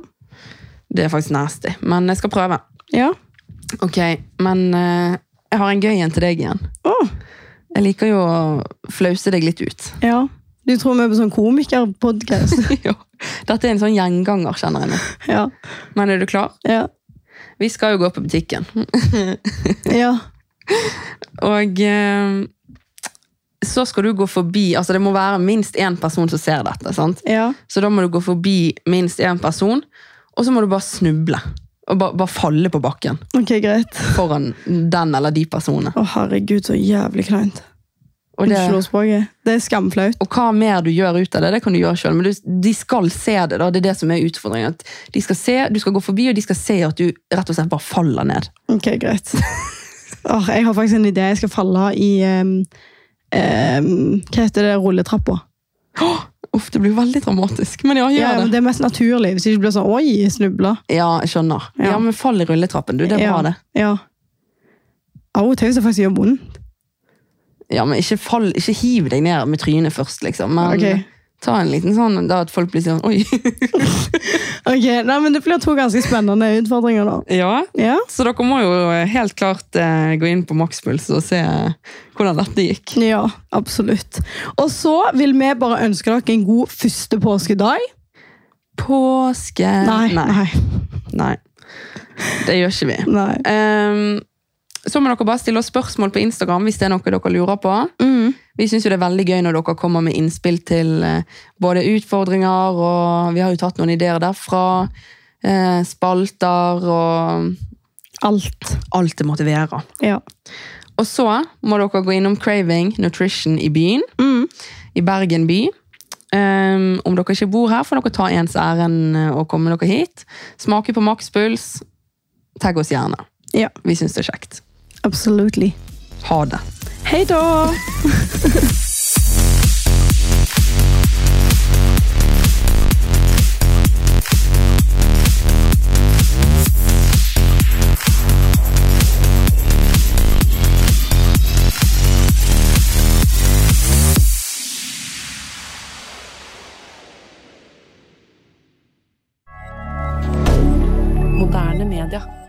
Det er faktisk nasty, men jeg skal prøve.
ja.
Ok, men eh, jeg har en gøy en til deg igjen.
Åh,
Jeg liker jo å flause deg litt ut.
ja. Du tror vi er på sånn komikerpodcast.
Ja. Dette er en sånn gjenganger, kjenner jeg nå.
ja,
Men er du klar?
ja,
Vi skal jo gå på butikken.
ja.
Og eh, så skal du gå forbi Altså, det må være minst én person som ser dette. sant?
Ja,
Så da må du gå forbi minst én person, og så må du bare snuble. Og bare, bare falle på bakken
ok, greit.
foran den eller de personene.
Å, herregud, så jævlig kleint.
Og, det,
Unnskyldspråket. Det er skamflaut.
og hva mer du gjør ut av det, det kan du gjøre sjøl, men du, de skal se det. da, Det er det som er utfordringen. at de skal se, Du skal gå forbi, og de skal se at du rett og slett bare faller ned.
Ok, greit. Åh, jeg har faktisk en idé. Jeg skal falle i ehm, ehm, Hva heter det? Rulletrappa.
Uff, det blir veldig dramatisk. Men ja, gjør
Ja, men
det.
det er mest naturlig, hvis det ikke blir sånn oi, snubla.
Ja, jeg skjønner.
Ja.
Ja, men fall i rulletrappen, du. Det er
ja.
bra, det.
Ja. Av og til så faktisk gjør vondt.
Ja, men ikke, fall, ikke hiv deg ned med trynet først, liksom. Men
Ok.
ta en liten sånn, da at folk blir sånn, oi.
Ok, nei, men Det blir to ganske spennende utfordringer, da.
ja,
Ja,
så dere må jo helt klart eh, gå inn på makspuls og se eh, hvordan dette gikk.
ja absolutt. Og så vil vi bare ønske dere en god første påskedag.
Påske.
Nei,
Nei.
nei.
Nei. Det gjør ikke vi.
nei.
Ehm, så må dere bare stille oss spørsmål på Instagram hvis det er noe dere lurer på.
Mm.
Vi synes jo det er veldig gøy når dere kommer med innspill til eh, både utfordringer, og vi har jo tatt noen ideer derfra, eh, spalter og
Alt.
alt det måtte være.
Ja.
Og så må dere gå innom Craving Nutrition i byen,
Mm.
i Bergen by. Um, om dere ikke bor her, får dere ta ens ærend og komme dere hit. Smake på makspuls. Tagg oss gjerne.
Ja.
Vi syns det er kjekt.
Absolutely.
Ha det.
Hei da!
Moderne media.